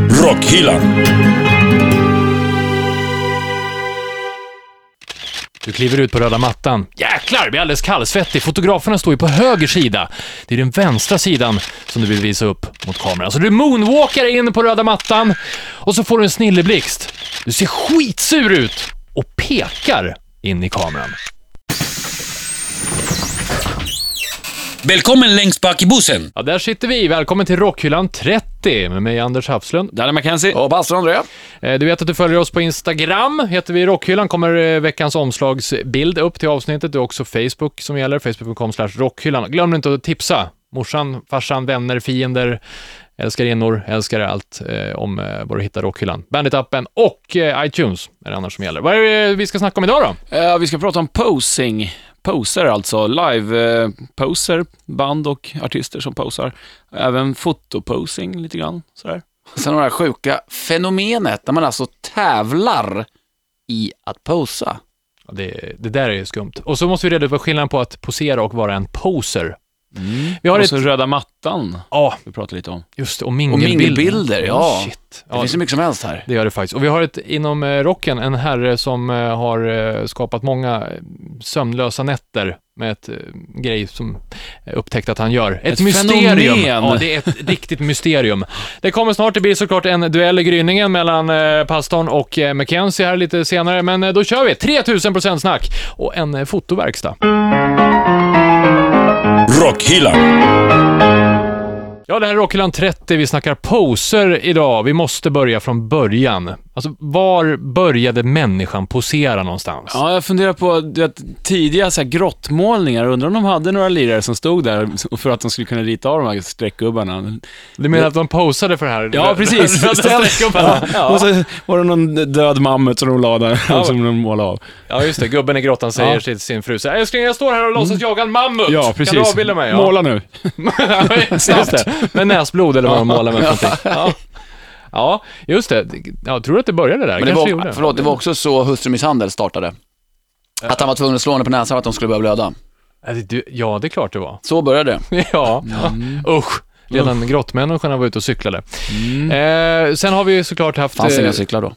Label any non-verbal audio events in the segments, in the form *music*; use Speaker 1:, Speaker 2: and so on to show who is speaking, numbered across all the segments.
Speaker 1: Rockhyllan.
Speaker 2: Du kliver ut på röda mattan. Jäklar, blir alldeles kallsvettig. Fotograferna står ju på höger sida. Det är den vänstra sidan som du vill visa upp mot kameran. Så du moonwalkar in på röda mattan och så får du en snilleblixt. Du ser skitsur ut och pekar in i kameran.
Speaker 1: Välkommen längst bak i bussen.
Speaker 2: Ja, där sitter vi. Välkommen till Rockhyllan 30 med mig, Anders Hafslund.
Speaker 3: Danny McKenzie.
Speaker 4: Och pastor André.
Speaker 2: Eh, Du vet att du följer oss på Instagram, heter vi Rockhyllan, kommer eh, veckans omslagsbild upp till avsnittet. Det är också Facebook som gäller, facebook.com slash rockhyllan. Glöm inte att tipsa morsan, farsan, vänner, fiender, älskarinnor, älskare, allt eh, om eh, var du hittar Rockhyllan. Bandit-appen och eh, iTunes är det annars som gäller. Vad är det vi ska snacka om idag då?
Speaker 3: Eh, vi ska prata om posing. Poser alltså, live-poser, band och artister som posar. Även fotoposing lite grann. Sådär.
Speaker 4: Sen har det här sjuka fenomenet när man alltså tävlar i att posa.
Speaker 2: Ja, Det, det där är ju skumt. Och så måste vi reda ut vad skillnaden på att posera och vara en poser.
Speaker 4: Mm.
Speaker 2: Vi har
Speaker 3: Och
Speaker 2: ett...
Speaker 3: så röda mattan,
Speaker 2: Ja,
Speaker 3: vi pratade lite om.
Speaker 2: just det, och mingelbilder. Oh,
Speaker 4: mingelbilder, ja.
Speaker 2: Shit.
Speaker 4: Det finns så mycket som helst här.
Speaker 2: Det gör det faktiskt. Och vi har ett, inom eh, rocken en herre som eh, har eh, skapat många eh, sömnlösa nätter med ett eh, grej som eh, upptäckt att han gör. Ett,
Speaker 3: Ett
Speaker 2: mysterium.
Speaker 3: fenomen.
Speaker 2: Ja, det är ett riktigt mysterium. Det kommer snart, det blir såklart en duell i gryningen mellan eh, pastorn och eh, Mackenzie här lite senare, men eh, då kör vi! 3000% snack och en eh, fotoverkstad.
Speaker 1: Rockhyllan.
Speaker 2: Ja, det här är Rockhyllan 30. Vi snackar poser idag. Vi måste börja från början. Alltså, var började människan posera någonstans?
Speaker 3: Ja, jag funderar på du vet, tidiga så här, grottmålningar. Undrar om de hade några lirare som stod där för att de skulle kunna rita av de här streckgubbarna.
Speaker 2: Du menar att de posade för det här?
Speaker 3: Ja,
Speaker 2: *laughs*
Speaker 3: *laughs* precis.
Speaker 2: Röda streckgubbarna.
Speaker 3: Ja. Och så var det någon död mammut som de la där, som de målade av.
Speaker 2: Ja, just det. Gubben i grottan säger
Speaker 3: Ja.
Speaker 2: till sin fru så här, älskling, jag står här och låtsas jaga en mammut.
Speaker 3: Ja, precis.
Speaker 2: Kan du avbilda mig? Ja. *laughs*
Speaker 3: Måla nu.
Speaker 2: just det. Med näsblod eller vad de målar med för någonting. Ja. ja, just det. Ja, tror du att det började där?
Speaker 4: Men det
Speaker 2: Kanske gjorde.
Speaker 4: var, förlåt, det var också så hustrumisshandel startade. Att han var tvungen att slå henne på näsan för att hon skulle börja blöda.
Speaker 2: Ja, det- du- Ja, det är klart det var.
Speaker 4: Så började det.
Speaker 2: *laughs* Ja, usch. Redan grottmänniskorna var ute och cyklade. Eh, sen har vi ju såklart haft...
Speaker 4: Fanns
Speaker 2: eh,
Speaker 4: inga cyklar då.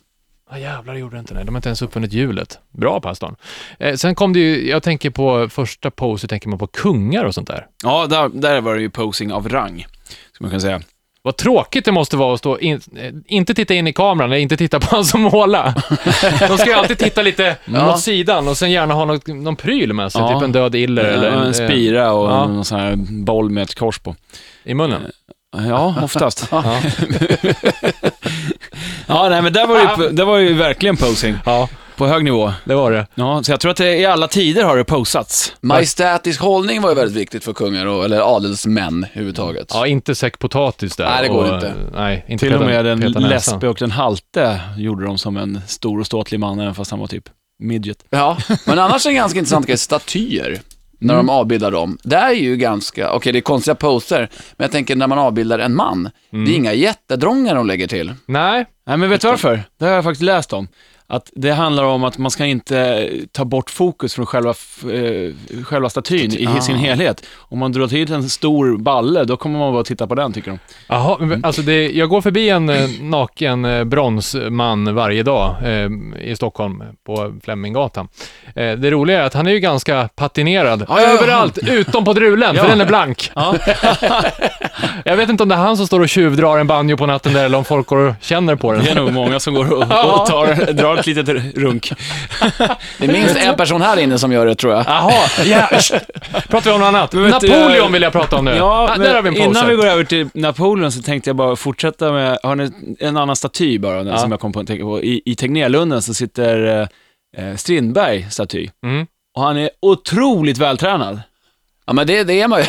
Speaker 2: Ja Ah, jävlar, det gjorde det inte. Nej. De har inte ens uppfunnit hjulet. Bra pastorn. Eh, sen kom det ju, jag tänker på första pose, tänker man på kungar och sånt där.
Speaker 3: Ja, där, där var det ju posing av rang, skulle man kunna säga.
Speaker 2: Vad tråkigt det måste vara att stå in, eh, inte titta in i kameran, eller inte titta på han som målar. De ska ju alltid titta lite
Speaker 4: Ja.
Speaker 2: åt sidan och sen gärna ha något, någon pryl med sig,
Speaker 3: Ja.
Speaker 2: typ en död iller eller
Speaker 3: en
Speaker 2: eh,
Speaker 3: spira och
Speaker 2: ja.
Speaker 3: en sån här boll med ett kors på.
Speaker 2: eh, i munnen.
Speaker 3: Ja, oftast. *laughs* ja, nej, men där var, det ju, där var det ju verkligen posing,
Speaker 2: Ja,
Speaker 3: på hög nivå.
Speaker 2: det var det.
Speaker 3: Ja, så jag tror att det, i alla tider har det posats.
Speaker 4: Majestätisk hållning var ju väldigt viktigt för kungar, och, eller adelsmän överhuvudtaget.
Speaker 2: Ja, inte säck potatis där.
Speaker 4: Nej, det går
Speaker 2: och, eh,
Speaker 4: inte.
Speaker 2: Nej, inte
Speaker 3: Till och
Speaker 2: peta-
Speaker 3: med den
Speaker 2: peta näsan.
Speaker 3: lesbe och den halte gjorde de som en stor och ståtlig man, även fast han var typ midget.
Speaker 4: Ja, men annars är det en ganska intressant grej, statyer. När
Speaker 2: Mm.
Speaker 4: de avbildar dem. Det är ju ganska, okej det är konstiga poser, men jag tänker när man avbildar en man,
Speaker 2: Mm.
Speaker 4: det är inga jättedrångar de lägger till.
Speaker 2: Nej,
Speaker 3: Nej, men vet du varför? Det har jag faktiskt läst om. Att det handlar om att man ska inte ta bort fokus från själva, f- eh, själva statyn i sin helhet. Om man drar till en stor balle, då kommer man bara titta på den, tycker de.
Speaker 2: Jaha,
Speaker 3: Mm.
Speaker 2: men alltså det, jag går förbi en eh, naken eh, bronsman varje dag eh, i Stockholm på Fleminggatan. Eh, det roliga är att han är ju ganska patinerad
Speaker 3: Ja, ja, ja.
Speaker 2: överallt, utom på drulen, för
Speaker 3: Ja.
Speaker 2: den är blank. jag vet inte om det är han som står och tjuvdrar en banjo på natten där, eller om folk går och känner på den.
Speaker 3: *laughs* Det är nog många som går och, och tar, drar ett litet runk.
Speaker 4: Det är minst en person här inne som gör det tror jag.
Speaker 2: Jaha, yeah. pratar vi om något annat?
Speaker 3: vet du,
Speaker 2: Napoleon
Speaker 3: jag-
Speaker 2: vill jag prata om nu.
Speaker 3: *laughs* Ja,
Speaker 2: ah, där har vi
Speaker 3: men
Speaker 2: en poser.
Speaker 3: innan vi går över till Napoleon så tänkte jag bara fortsätta med, har ni en annan staty bara, den som jag kom på att tänka på. I, i Tegnérlunden så sitter eh, eh, Strindberg staty.
Speaker 2: Mm.
Speaker 3: Och han är otroligt vältränad.
Speaker 4: Ja men det, det
Speaker 2: *laughs*
Speaker 4: är man ju.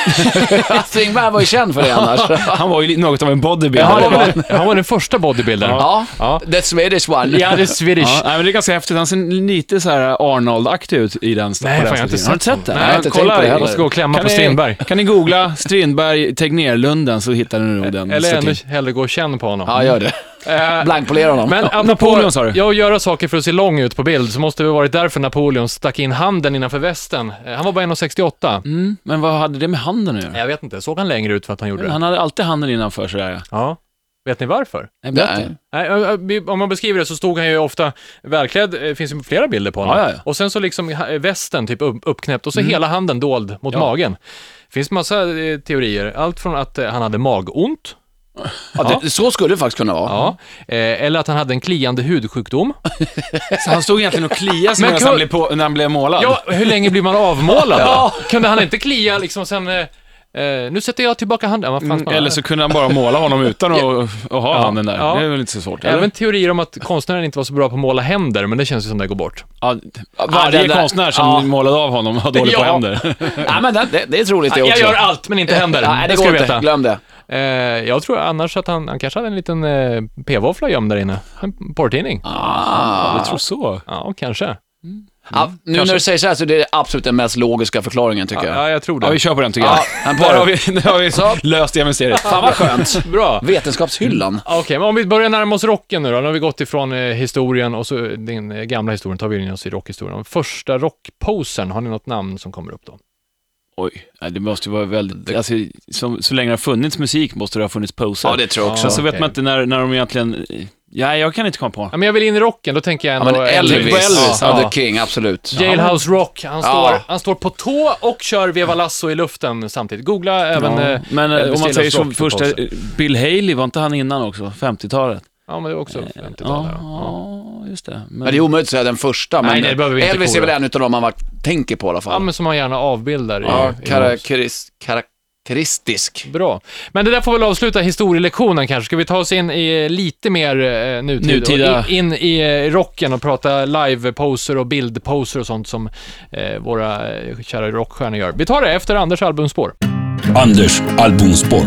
Speaker 4: Strindberg var ju känd för det annars.
Speaker 3: Han var ju li- något av en bodybuilder.
Speaker 2: han, var väl, han var den första bodybuildern.
Speaker 4: Ja,
Speaker 2: Ja.
Speaker 4: the Swedish one.
Speaker 2: Ja, det är Swedish.
Speaker 3: Ja, nej, men det är ganska häftigt. Han ser lite så här Arnold-aktig ut i den
Speaker 2: Nej,
Speaker 3: på den
Speaker 2: fan, jag har inte
Speaker 3: stilen. Har du
Speaker 2: sett
Speaker 3: sett den?
Speaker 4: Nej, jag har inte
Speaker 3: kolla
Speaker 4: tänkt på det
Speaker 3: i-
Speaker 4: heller.
Speaker 2: Jag ska gå och klämma
Speaker 3: Kan
Speaker 2: på
Speaker 3: ni-
Speaker 2: Strindberg.
Speaker 3: Kan ni googla Strindberg Tegnérlunden så hittar ni nog den.
Speaker 2: Eller
Speaker 3: statyn.
Speaker 2: ännu hellre gå och känn på honom.
Speaker 4: Ja, gör det.
Speaker 2: Eh,
Speaker 4: Blankpolera honom.
Speaker 2: Men apropå,
Speaker 3: Napoleon, sa du?
Speaker 2: Ja, att göra saker för att se lång ut på bild, så måste det ha varit därför Napoleon stack in handen innanför västen. Eh, Han var bara 1,68.
Speaker 3: Mm, men vad hade det med handen att göra?
Speaker 2: Jag vet inte, såg han längre ut för att han gjorde det?
Speaker 3: Han hade alltid handen innanför sådär.
Speaker 2: Ja. Vet ni varför?
Speaker 3: Nej, berätta.
Speaker 4: Nej.
Speaker 2: Nej, ö- ö, vi- om man beskriver det så stod han ju ofta välklädd, eh, finns ju flera bilder på honom.
Speaker 3: Ja, Mm. ja, ja.
Speaker 2: Och sen så liksom ha- västen typ upp, uppknäppt och så hela handen dold mot magen. Finns massa eh, teorier, allt från att eh, han hade
Speaker 3: Mm.
Speaker 2: magont,
Speaker 4: Ja, det, så skulle det faktiskt kunna vara.
Speaker 2: ja, eh, eller att han hade en kliande hudsjukdom.
Speaker 3: Så han stod egentligen och kliade sig
Speaker 2: Men
Speaker 3: medan han
Speaker 2: kul-
Speaker 3: blev på, när han blev målad.
Speaker 2: Ja, hur länge blir man avmålad då? Kunde han inte klia liksom sen, eh, eh, nu sätter jag tillbaka handen. Ja, vad fan ska
Speaker 3: Mm,
Speaker 2: man-
Speaker 3: Eller så kunde han bara måla honom utan att, att ha handen där.
Speaker 2: Ja.
Speaker 3: Det är väl inte så svårt? eller?
Speaker 2: Även teorier om att konstnären inte var så bra på att måla händer, men det känns ju som det går bort.
Speaker 3: Ja, varje
Speaker 4: den där-
Speaker 3: konstnär som
Speaker 4: ja.
Speaker 3: målade av honom har dåligt på
Speaker 2: Ja.
Speaker 3: händer.
Speaker 4: Nej, men det, det, det är troligt det också.
Speaker 2: Jag gör allt, men inte händer.
Speaker 4: Nej, det
Speaker 2: ska
Speaker 4: går
Speaker 2: du
Speaker 4: inte.
Speaker 2: veta.
Speaker 4: Glöm det.
Speaker 2: Eh, jag tror annars att han, han kanske hade en liten eh, p-våffla gömd där inne. En porrtidning.
Speaker 4: Ah.
Speaker 3: Jag tror så.
Speaker 2: Ja, kanske.
Speaker 4: Ja, nu när du säger så här så är det absolut den mest logiska förklaringen tycker jag.
Speaker 2: Mm. Ja, jag tror det.
Speaker 3: Ja, vi kör på den tycker jag.
Speaker 4: en par.
Speaker 3: där har vi, *laughs* där har vi
Speaker 4: Så.
Speaker 3: löst det mysteriet.
Speaker 4: Fan vad skönt.
Speaker 2: *laughs* Bra.
Speaker 4: Vetenskapshyllan.
Speaker 2: Okej, men om vi börjar närma oss rocken nu då. Nu har vi gått ifrån eh, historien och så den eh, gamla historien tar vi in oss i rockhistorien. Första rockposen, har ni något namn som kommer upp då?
Speaker 3: Oj, nej, det måste ju vara väldigt... Alltså, så, så länge det har funnits musik måste det ha funnits poser.
Speaker 4: Ja, det tror jag också.
Speaker 3: Sen så vet
Speaker 2: okej.
Speaker 3: man inte när, när de egentligen... Ja, jag kan inte komma på.
Speaker 2: Ja, men jag vill in i rocken, då tänker jag
Speaker 4: Ja,
Speaker 2: ändå
Speaker 4: men Elvis.
Speaker 2: Ja,
Speaker 4: Elvis. Ja, the King, absolut.
Speaker 2: Jailhouse Rock, han står,
Speaker 4: Ja.
Speaker 2: han står på tå och kör Veva Lasso i luften samtidigt. Googla även... eh,
Speaker 3: Men eh,
Speaker 2: Elvis
Speaker 3: om man säger
Speaker 2: Jailhouse
Speaker 3: som
Speaker 2: Rock
Speaker 3: första,
Speaker 2: poser.
Speaker 3: eh, Bill Haley, var inte han innan också? 50-talet?
Speaker 2: Ja, men det är också 50-tal.
Speaker 3: Eh, Ja,
Speaker 2: där, ja.
Speaker 3: just det. Men,
Speaker 4: Men det är omöjligt att säga den första, men
Speaker 2: Nej, det behöver vi inte
Speaker 4: Elvis är
Speaker 2: kolla.
Speaker 4: väl en utav dem man var, tänker på i alla fall.
Speaker 2: Ja, men som man gärna avbildar. i-
Speaker 4: Ja,
Speaker 2: i,
Speaker 4: karakteris, karaktäristisk.
Speaker 2: Bra. Men det där får väl avsluta historielektionen kanske. Ska vi ta oss in i lite mer eh, nutid
Speaker 3: Nutida.
Speaker 2: Och i- in i eh, rocken och prata live-poser och bildposer och sånt som eh, våra eh, kära rockstjärnor gör. Vi tar det efter Anders albumspår.
Speaker 1: Anders albumspår.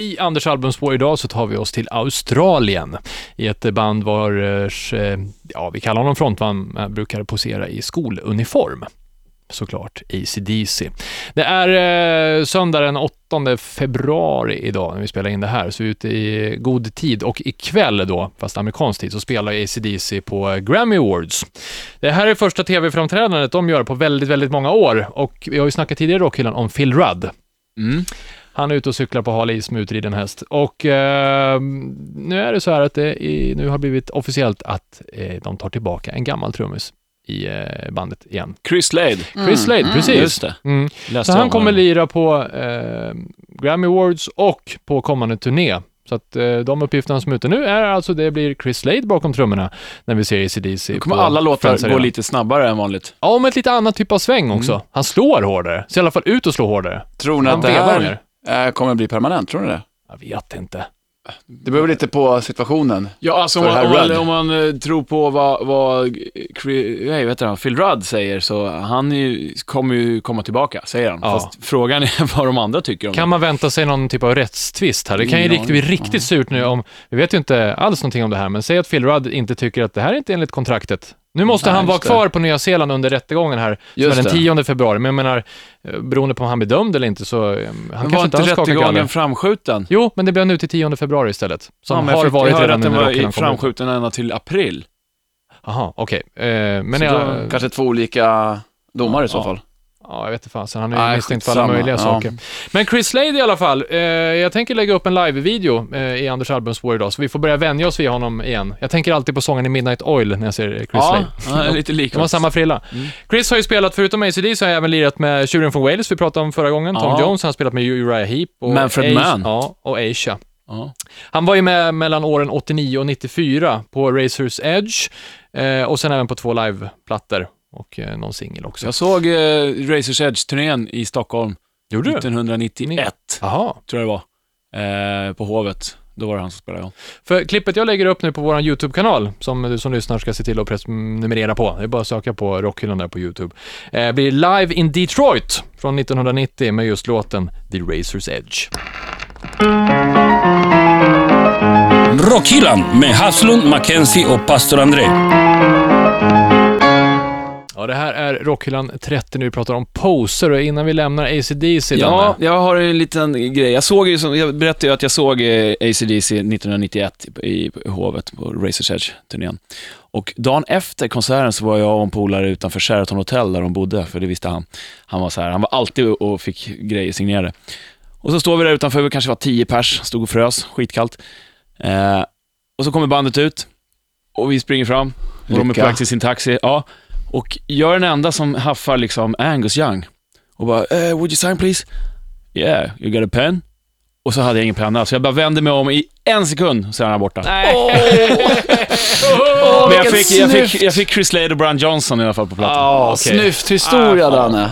Speaker 2: I Anders albumspår idag så tar vi oss till Australien i ett band vars, eh, ja vi kallar honom frontman, eh, brukar posera i skoluniform. Såklart ACDC. Det är eh, söndag den 8 februari idag när vi spelar in det här, så vi är ute i god tid och ikväll då, fast amerikansk tid, så spelar ACDC på eh, Grammy Awards. Det här är första tv-framträdandet de gör på väldigt, väldigt många år och vi har ju snackat tidigare i Rockhyllan om Phil Rudd.
Speaker 3: Mm.
Speaker 2: Han är ute och cyklar på hal is med utriden häst. Och eh, nu är det så här att det i, nu har blivit officiellt att eh, de tar tillbaka en gammal trummis i eh, bandet igen.
Speaker 3: Chris Slade.
Speaker 2: Chris Slade, precis.
Speaker 3: Mm, Just det.
Speaker 2: Mm.
Speaker 3: Läste
Speaker 2: Så han
Speaker 3: om
Speaker 2: kommer
Speaker 3: honom.
Speaker 2: lira på eh, Grammy Awards och på kommande turné. Så att eh, de uppgifterna som är ute nu är alltså, det blir Chris Slade bakom trummorna när vi ser ACDC.
Speaker 3: Då kommer
Speaker 2: på
Speaker 3: alla
Speaker 2: Friends
Speaker 3: låtar gå
Speaker 2: Arena.
Speaker 3: lite Mm. snabbare än vanligt.
Speaker 2: Ja, med ett lite annat typ av sväng också. Han slår hårdare, ser i alla fall ut att slå hårdare.
Speaker 4: Tror ni
Speaker 2: Han
Speaker 4: att det
Speaker 2: vevar
Speaker 4: här
Speaker 2: mer.
Speaker 4: eh, kommer bli permanent? Tror ni det?
Speaker 2: Jag vet inte.
Speaker 4: Det beror lite på situationen.
Speaker 3: Ja, alltså om
Speaker 4: För
Speaker 3: man,
Speaker 4: herr
Speaker 3: om man,
Speaker 4: Rudd.
Speaker 3: om man eh, tror på vad, vad Cri- nej, vet han, Phil Rudd säger, så han är ju, kommer ju komma tillbaka, säger han.
Speaker 2: Ja.
Speaker 3: Fast frågan är *laughs* vad de andra tycker om
Speaker 2: Kan
Speaker 3: det.
Speaker 2: man vänta sig någon typ av rättstvist här? Det kan ju
Speaker 3: Ingen
Speaker 2: rikt- bli riktigt surt nu om, vi vet ju inte alls någonting om det här, men säg att Phil Rudd inte tycker att det här är inte enligt kontraktet. Nu måste
Speaker 4: Nej,
Speaker 2: han vara
Speaker 4: just det.
Speaker 2: kvar på Nya Zeeland under rättegången här,
Speaker 4: Just
Speaker 2: som är den
Speaker 4: det.
Speaker 2: 10 februari, men jag menar, eh, beroende på om han blir dömd eller inte så, eh, han
Speaker 3: Men var
Speaker 2: kanske inte
Speaker 3: inte
Speaker 2: alls skakar galler.
Speaker 3: rättegången framskjuten?
Speaker 2: Jo, men det blir nu till 10 februari istället,
Speaker 3: Ja,
Speaker 2: som
Speaker 3: men jag
Speaker 2: har
Speaker 3: fick-
Speaker 2: varit
Speaker 3: jag hörde
Speaker 2: redan
Speaker 3: att den
Speaker 2: när
Speaker 3: var
Speaker 2: rockarna
Speaker 3: i-
Speaker 2: kom ut.
Speaker 3: framskjuten ända till april.
Speaker 2: Jaha, okej. Eh, men
Speaker 3: Så
Speaker 2: jag,
Speaker 3: då-
Speaker 4: Kanske två olika domar i så fall.
Speaker 2: Ja, jag vet inte fasen. Han är ju
Speaker 4: Nej,
Speaker 2: misstänkt för alla
Speaker 4: skitsamma.
Speaker 2: möjliga
Speaker 4: Ja.
Speaker 2: saker. Men Chris Slade i alla fall. Eh, jag tänker lägga upp en live-video eh, i Anders albumspår idag, så vi får börja vänja oss vid honom igen. Jag tänker alltid på sången i Midnight Oil när jag ser eh, Chris
Speaker 3: Ja, Mm.
Speaker 2: Slade.
Speaker 3: han
Speaker 2: *laughs*
Speaker 3: är lite lik
Speaker 2: De har
Speaker 3: oss.
Speaker 2: samma frilla. Chris har ju spelat, förutom ACD så har jag även lirat med Tjuren från Wales, vi pratade om förra gången. Tom
Speaker 3: Ja.
Speaker 2: Jones, han har spelat med Uriah Heep och
Speaker 3: Manfred
Speaker 2: Asia-
Speaker 3: Mann.
Speaker 2: Ja, och Asia.
Speaker 3: Ja.
Speaker 2: Han var ju med mellan åren 89 och 94 på Razors Edge eh, och sen även på två liveplattor och eh, någon singel också.
Speaker 3: Jag såg eh, Racers Edge-turnén i Stockholm
Speaker 2: Gjorde du?
Speaker 3: 1991,
Speaker 2: Jaha.
Speaker 3: tror jag det var, eh, på Hovet. Då var det han som spelade. ja.
Speaker 2: För klippet jag lägger upp nu på vår YouTube-kanal, som du som lyssnar ska se till att prenumerera på, det är bara att söka på Rockhyllan där på YouTube, eh, blir live in Detroit från 1990 med just låten The Razor's Edge.
Speaker 1: Rockhyllan med Haslund, Mackenzie och pastor André.
Speaker 2: Ja, det här är Rockhyllan 30 nu, vi pratar om poser och innan vi lämnar ACDC,
Speaker 3: Ja,
Speaker 2: Danne.
Speaker 3: jag har en liten grej. Jag, såg ju som, jag berättade ju att jag såg eh, ACDC 1991 i, i Hovet på Racers Edge-turnén. Och dagen efter konserten så var jag och en polare utanför Sheraton Hotel där de bodde, för det visste han. Han var så här, han var alltid och fick grejer signerade. Och Och så står vi där utanför, vi kanske var tio pers, stod och frös, skitkallt. Eh, och så kommer bandet ut och vi springer fram och de är på
Speaker 4: Lycka.
Speaker 3: väg till sin taxi. Ja, och jag är den enda som haffar liksom Angus Young och bara eh, “Would you sign please?” “Yeah, you got a pen?” Och så hade jag ingen penna, så jag bara vände mig om i en sekund, så är han borta.
Speaker 2: Nej.
Speaker 3: Men jag
Speaker 4: vilken
Speaker 3: fick, jag, fick,
Speaker 4: snyft.
Speaker 3: jag fick Chris Slade och Brian Johnson i alla fall på plattan.
Speaker 2: Ah, okej. Ah.
Speaker 4: Snyfthistoria, Danne.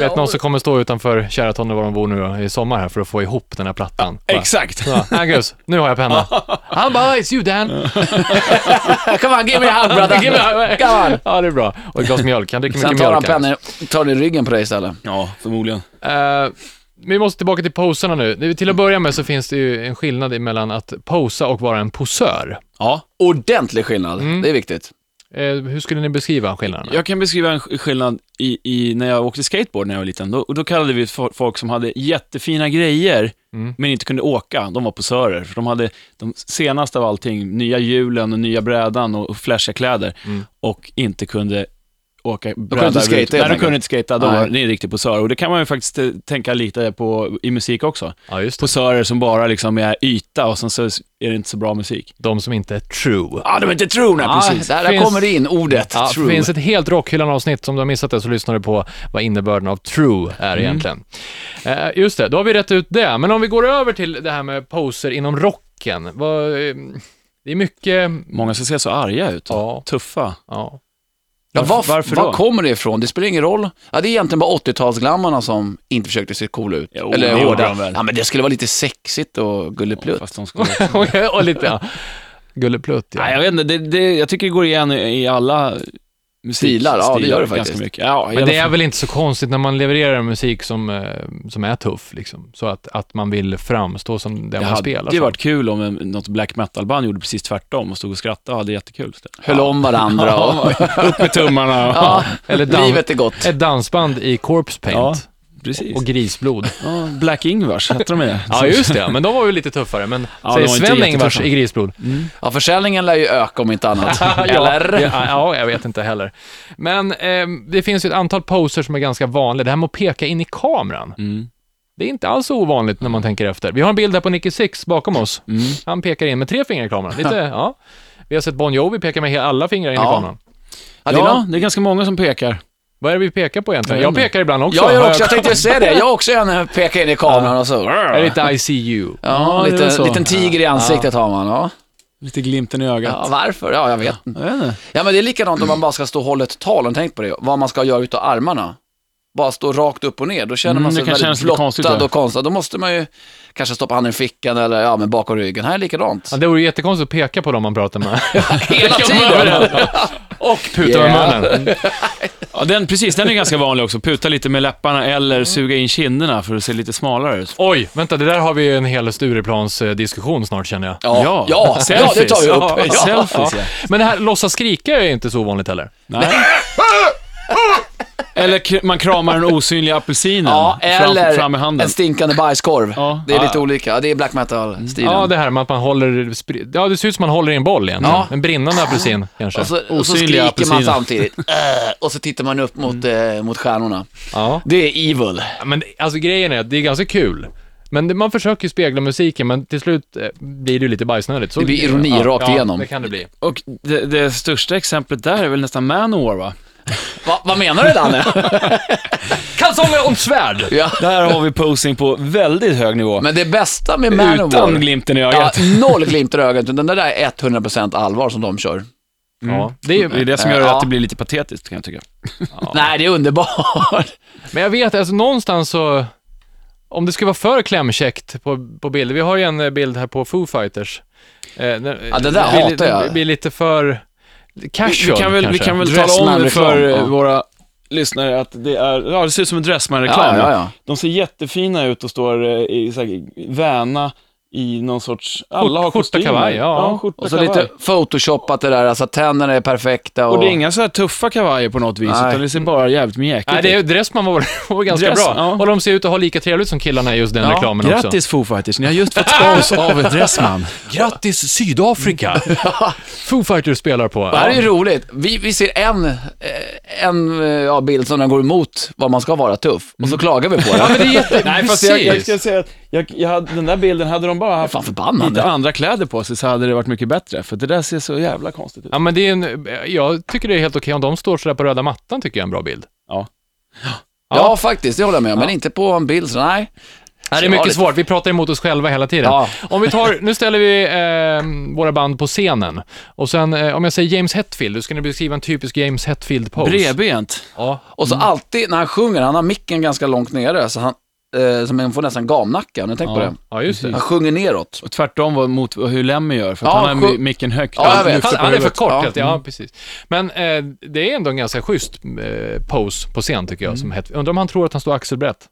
Speaker 2: Vet någon som kommer stå utanför Sheraton eller var de bor nu då, i sommar här för att få ihop den här plattan. Bara,
Speaker 3: Exakt!
Speaker 2: Ja, Angus, nu har jag
Speaker 4: *laughs*
Speaker 2: penna. Han bara, it's you Dan.
Speaker 4: *laughs* Come on, give me a hug
Speaker 2: *laughs*
Speaker 4: brother.
Speaker 2: Give me a hug.
Speaker 4: Come on.
Speaker 2: Ja, det är bra. Och ett glas
Speaker 4: *laughs*
Speaker 2: mjölk. Han dricker
Speaker 4: Sen
Speaker 2: mycket
Speaker 4: tar han
Speaker 2: mjölk. här.
Speaker 4: pennan, tar den i ryggen på dig istället.
Speaker 3: Ja, förmodligen.
Speaker 2: Eh, vi måste tillbaka till poserna nu. Det- Till att börja med så finns det ju en skillnad mellan att posa och vara en posör.
Speaker 3: Ja.
Speaker 4: Ordentlig skillnad,
Speaker 2: Mm.
Speaker 4: det är viktigt.
Speaker 2: Eh, hur skulle ni beskriva skillnaderna?
Speaker 3: Jag kan beskriva en sk- skillnad i, i när jag åkte skateboard när jag var liten. Då, då kallade vi fo- folk som hade jättefina grejer, men inte kunde åka, de var posörer. För de hade de senaste av allting, nya hjulen och nya brädan och, och flashiga kläder, och inte kunde åka bräda.
Speaker 4: inte skata,
Speaker 3: överhuvudtaget.
Speaker 4: helt
Speaker 3: Nej, de
Speaker 4: enkelt.
Speaker 3: kunde inte skata. De
Speaker 4: Nej.
Speaker 3: var, det är en riktig posör. Och det kan man ju faktiskt eh, tänka lite på i musik också.
Speaker 2: Ja, just det.
Speaker 3: Posörer som bara liksom är yta och sen så är det inte så bra musik.
Speaker 2: De som inte är true.
Speaker 3: Ja, ah, de är inte trogna,
Speaker 4: Ja,
Speaker 3: precis.
Speaker 4: Där, där
Speaker 2: Finns-
Speaker 4: kommer det in, ordet
Speaker 2: Ja,
Speaker 4: true.
Speaker 2: finns ett helt Rockhyllan-avsnitt, som du har missat det så lyssnar du på vad innebörden av true är
Speaker 4: Mm.
Speaker 2: egentligen. Eh, just det, då har vi rätt ut det. Men om vi går över till det här med poser inom rocken. Vad, eh, det är mycket,
Speaker 3: Många ska se så arga ut.
Speaker 2: Ja.
Speaker 3: Tuffa.
Speaker 2: ja. *laughs*
Speaker 4: Ja, var,
Speaker 3: Varför
Speaker 4: var
Speaker 3: då?
Speaker 4: kommer det ifrån? Det spelar ingen roll. Ja, det är egentligen bara 80-talsglammarna som inte försökte se coola ut.
Speaker 3: Jo, det
Speaker 4: Eller
Speaker 3: gjorde
Speaker 4: hårda.
Speaker 3: de väl.
Speaker 4: Ja, men det skulle vara lite sexigt och gulleplutt.
Speaker 3: Fast de skulle...
Speaker 2: och lite, ja. Gulleplutt ja.
Speaker 3: Nej, jag vet inte. Det, det, jag tycker det går igen i i alla musikstilar
Speaker 4: Stilar, ja, det gör det
Speaker 3: ganska
Speaker 4: faktiskt.
Speaker 3: mycket. Ja, i
Speaker 2: Men
Speaker 3: alla
Speaker 2: det är
Speaker 3: fall.
Speaker 2: väl inte så konstigt när man levererar musik som, eh, som är tuff, liksom. Så att, att man vill framstå som den
Speaker 3: det
Speaker 2: man
Speaker 3: hade
Speaker 2: spelar
Speaker 3: ju
Speaker 2: som.
Speaker 3: varit kul om en, något black metal-band gjorde precis tvärtom och stod och skrattade och hade jättekul istället.
Speaker 4: Höll om varandra och...
Speaker 3: *laughs* Upp med tummarna och...
Speaker 4: Ja,
Speaker 2: Eller dan-
Speaker 4: livet är gott.
Speaker 2: Ett dansband i corpse
Speaker 3: Ja,
Speaker 2: paint
Speaker 3: precis.
Speaker 2: och grisblod.
Speaker 3: ja, black Ingvars hette de det.
Speaker 2: Ja, just det. *laughs* Men de var ju lite tuffare. Men
Speaker 3: Ja,
Speaker 2: säg
Speaker 3: de var inte
Speaker 2: Sven Ingvars
Speaker 3: jättetuffa.
Speaker 2: i Grisblod.
Speaker 4: Ja, försäljningen lär ju öka om inte
Speaker 2: *laughs*
Speaker 4: annat.
Speaker 2: Ja,
Speaker 4: Eller?
Speaker 2: ja, ja, jag vet inte heller. Men ehm, det finns ju ett antal poser som är ganska vanliga. Det här med att peka in i kameran.
Speaker 3: Mm.
Speaker 2: Det är inte alls så ovanligt när man tänker efter. Vi har en bild här på Nicky Six bakom oss.
Speaker 3: Mm.
Speaker 2: Han pekar in med tre fingrar i
Speaker 3: *laughs*
Speaker 2: kameran. Lite, ja. Vi har sett Bon Jovi peka med he- alla fingrar in i
Speaker 4: Ja.
Speaker 2: kameran.
Speaker 4: Ja, det är
Speaker 3: Ja,
Speaker 4: någon-
Speaker 3: det är ganska många som pekar.
Speaker 2: Vad är det vi pekar på egentligen?
Speaker 3: Mm. Jag
Speaker 2: Jag
Speaker 3: vet inte.
Speaker 2: pekar ibland också.
Speaker 4: Jag
Speaker 2: Har
Speaker 4: gör också, jag tänkte säga det. Jag också gärna pekar in i kameran och så...
Speaker 2: Är det inte ICU?
Speaker 4: Ja,
Speaker 3: Ja, det är väl
Speaker 4: lite,
Speaker 3: så.
Speaker 4: liten tiger i ansiktet har man. Ja.
Speaker 3: Lite glimten i ögat.
Speaker 4: Ja, varför? Ja, jag vet inte.
Speaker 3: Jag vet inte.
Speaker 4: Ja, men det är likadant
Speaker 3: Mm.
Speaker 4: om man bara ska stå och hålla ett tal. Har ni tänkt på det? Vad man ska göra utav armarna. Bara stå rakt upp och ner. Då känner
Speaker 3: Mm,
Speaker 4: man
Speaker 3: det
Speaker 4: sig
Speaker 3: kan kännas
Speaker 4: väldigt
Speaker 3: lite konstigt,
Speaker 4: blottad
Speaker 3: ja.
Speaker 4: och konstig. Då måste man ju kanske stoppa handen i fickan eller ja, men bakom ryggen. Här är likadant.
Speaker 2: Ja, det vore jättekonstigt att peka på dem man
Speaker 3: *laughs*
Speaker 2: pratar med.
Speaker 4: Hela tiden.
Speaker 2: Och puta
Speaker 4: Yeah.
Speaker 2: med munnen.
Speaker 3: Ja, den, precis, den är ganska vanlig också. Puta lite med läpparna eller suga in kinderna för att se lite smalare ut.
Speaker 2: Oj, vänta, det där har vi en hel Stureplans-diskussion snart känner jag.
Speaker 4: Ja, ja. ja, det tar vi upp.
Speaker 3: Ja,
Speaker 4: Ja.
Speaker 3: Selfies, ja.
Speaker 2: Men det här låtsas skrika är inte så ovanligt heller.
Speaker 4: *laughs*
Speaker 3: Nej. eller k- man kramar den osynliga apelsinen
Speaker 4: Ja, eller
Speaker 3: fram, fram med handen.
Speaker 4: en stinkande bajskorv.
Speaker 3: Ja.
Speaker 4: Det är lite
Speaker 3: Ja.
Speaker 4: olika. Ja, Det är black metal-stilen.
Speaker 2: Ja, det här med att man håller... spri- Ja, det ser ut som man håller i en boll egentligen.
Speaker 4: Ja. Alltså,
Speaker 2: En brinnande apelsin kanske.
Speaker 4: Och så, och så
Speaker 3: Osynliga Mm.
Speaker 4: skriker man
Speaker 3: apelsiner. *laughs*
Speaker 4: samtidigt. Äh, och så tittar man upp mot, eh, mot stjärnorna.
Speaker 2: Ja.
Speaker 4: Det är evil.
Speaker 2: Men det- alltså grejen är att det är ganska kul. Men det, man försöker ju spegla musiken, men till slut eh, blir det ju lite bajsnödigt. Så,
Speaker 4: Det blir ironi
Speaker 2: ja,
Speaker 4: rakt
Speaker 2: ja,
Speaker 4: igenom.
Speaker 2: det kan det bli.
Speaker 3: Och det, det största exemplet där är väl nästan Manowar va?
Speaker 4: Va, vad menar
Speaker 3: *laughs*
Speaker 4: du Danne?
Speaker 2: Kalsonger och svärd!
Speaker 4: ja.
Speaker 3: Där har vi posing på väldigt hög nivå.
Speaker 4: Men det bästa med Manowar...
Speaker 3: Utan glimten i
Speaker 4: Ja,
Speaker 3: ögat.
Speaker 4: noll glimt i ögat. utan Det där är 100% allvar som de kör. Mm.
Speaker 2: Ja, det är ju,
Speaker 3: Det är det som gör
Speaker 4: Ja.
Speaker 3: att det blir lite patetiskt kan jag tycka.
Speaker 4: Nej, det är underbart.
Speaker 2: Men jag vet, alltså någonstans så... Om det skulle vara för klämkäckt på, på bilder. Vi har ju en eh, bild här på Foo Fighters. Eh, ja,
Speaker 4: det där hatar jag.
Speaker 2: Det blir lite för
Speaker 3: Vi,
Speaker 2: casual
Speaker 3: kan väl, vi
Speaker 2: kanske.
Speaker 3: kan väl tala om
Speaker 4: Dressman-reklam,
Speaker 3: för
Speaker 4: ja.
Speaker 3: våra lyssnare att det är, ja det ser ut som en Dressman-reklam.
Speaker 4: Ja, ja, ja.
Speaker 3: De ser jättefina ut och står eh, i så här, väna i någon sorts... Alla har
Speaker 2: skjorta,
Speaker 3: kostymer.
Speaker 2: kavaj, ja.
Speaker 3: skjorta,
Speaker 4: Och så
Speaker 3: kavaj.
Speaker 4: lite photoshopat det där, alltså tänderna är perfekta och...
Speaker 3: Och det är inga så här tuffa kavajer på något vis,
Speaker 4: Nej.
Speaker 3: utan det ser bara jävligt mjäkigt
Speaker 2: Nej, det är, Dressman var, *laughs* var ganska
Speaker 3: Dress-
Speaker 2: bra.
Speaker 3: ja.
Speaker 2: Och de ser ut att ha lika trevligt som killarna i just den reklamen också.
Speaker 3: Grattis Foo Fighters, ni har just fått *laughs* spons av Dressman.
Speaker 2: Grattis Sydafrika! *laughs* Foo Fighters spelar på.
Speaker 4: Det här är ju
Speaker 2: Ja.
Speaker 4: roligt. Vi, vi ser en, eh, en eh, ja, bild som den går emot vad man ska vara tuff,
Speaker 3: Mm.
Speaker 4: och så klagar vi på
Speaker 3: *laughs*
Speaker 4: det.
Speaker 2: Ja, men det är jätte... Nej,
Speaker 3: Fast Alltså, jag, jag ska säga att jag, jag hade, den där bilden, hade de bara haft
Speaker 4: Fan förbannande.
Speaker 3: lite andra kläder på sig så hade det varit mycket bättre, för det där ser så jävla konstigt ut.
Speaker 2: Ja, men det är en, jag tycker det är helt okej om de står sådär på röda mattan, tycker jag är en bra bild.
Speaker 3: Ja.
Speaker 4: Ja, faktiskt, det håller jag med om. Men inte på en bild, så nej.
Speaker 2: Nej, det är
Speaker 4: Så
Speaker 2: mycket
Speaker 4: lite-
Speaker 2: svårt. Vi pratar emot oss själva hela tiden.
Speaker 4: Ja.
Speaker 2: Om vi tar, nu ställer vi eh, våra band på scenen. Och sen, eh, om jag säger James Hetfield, då ska ni beskriva en typisk James Hetfield-pose.
Speaker 3: Bredbent.
Speaker 2: Ja.
Speaker 4: Och
Speaker 3: Mm.
Speaker 4: så alltid när han sjunger, han har micken ganska långt nere, så han, eh, så man får nästan gamnacke, har ni tänkt på det?
Speaker 2: ja, just det.
Speaker 4: Han sjunger neråt.
Speaker 3: Och tvärtom vad mot vad hur Lemmy gör, för att
Speaker 4: Ja,
Speaker 3: han har
Speaker 4: sju-
Speaker 3: mi- micken högt.
Speaker 4: Ja, jag vet.
Speaker 3: lyfter
Speaker 2: Han,
Speaker 3: på
Speaker 2: han är för
Speaker 3: huvudet.
Speaker 2: kort,
Speaker 4: Ja.
Speaker 2: helt- ja, precis. Men eh, det är ändå en ganska schysst eh, pose på scen, tycker jag, som Hetfield. Undrar om han tror att han står axelbrett.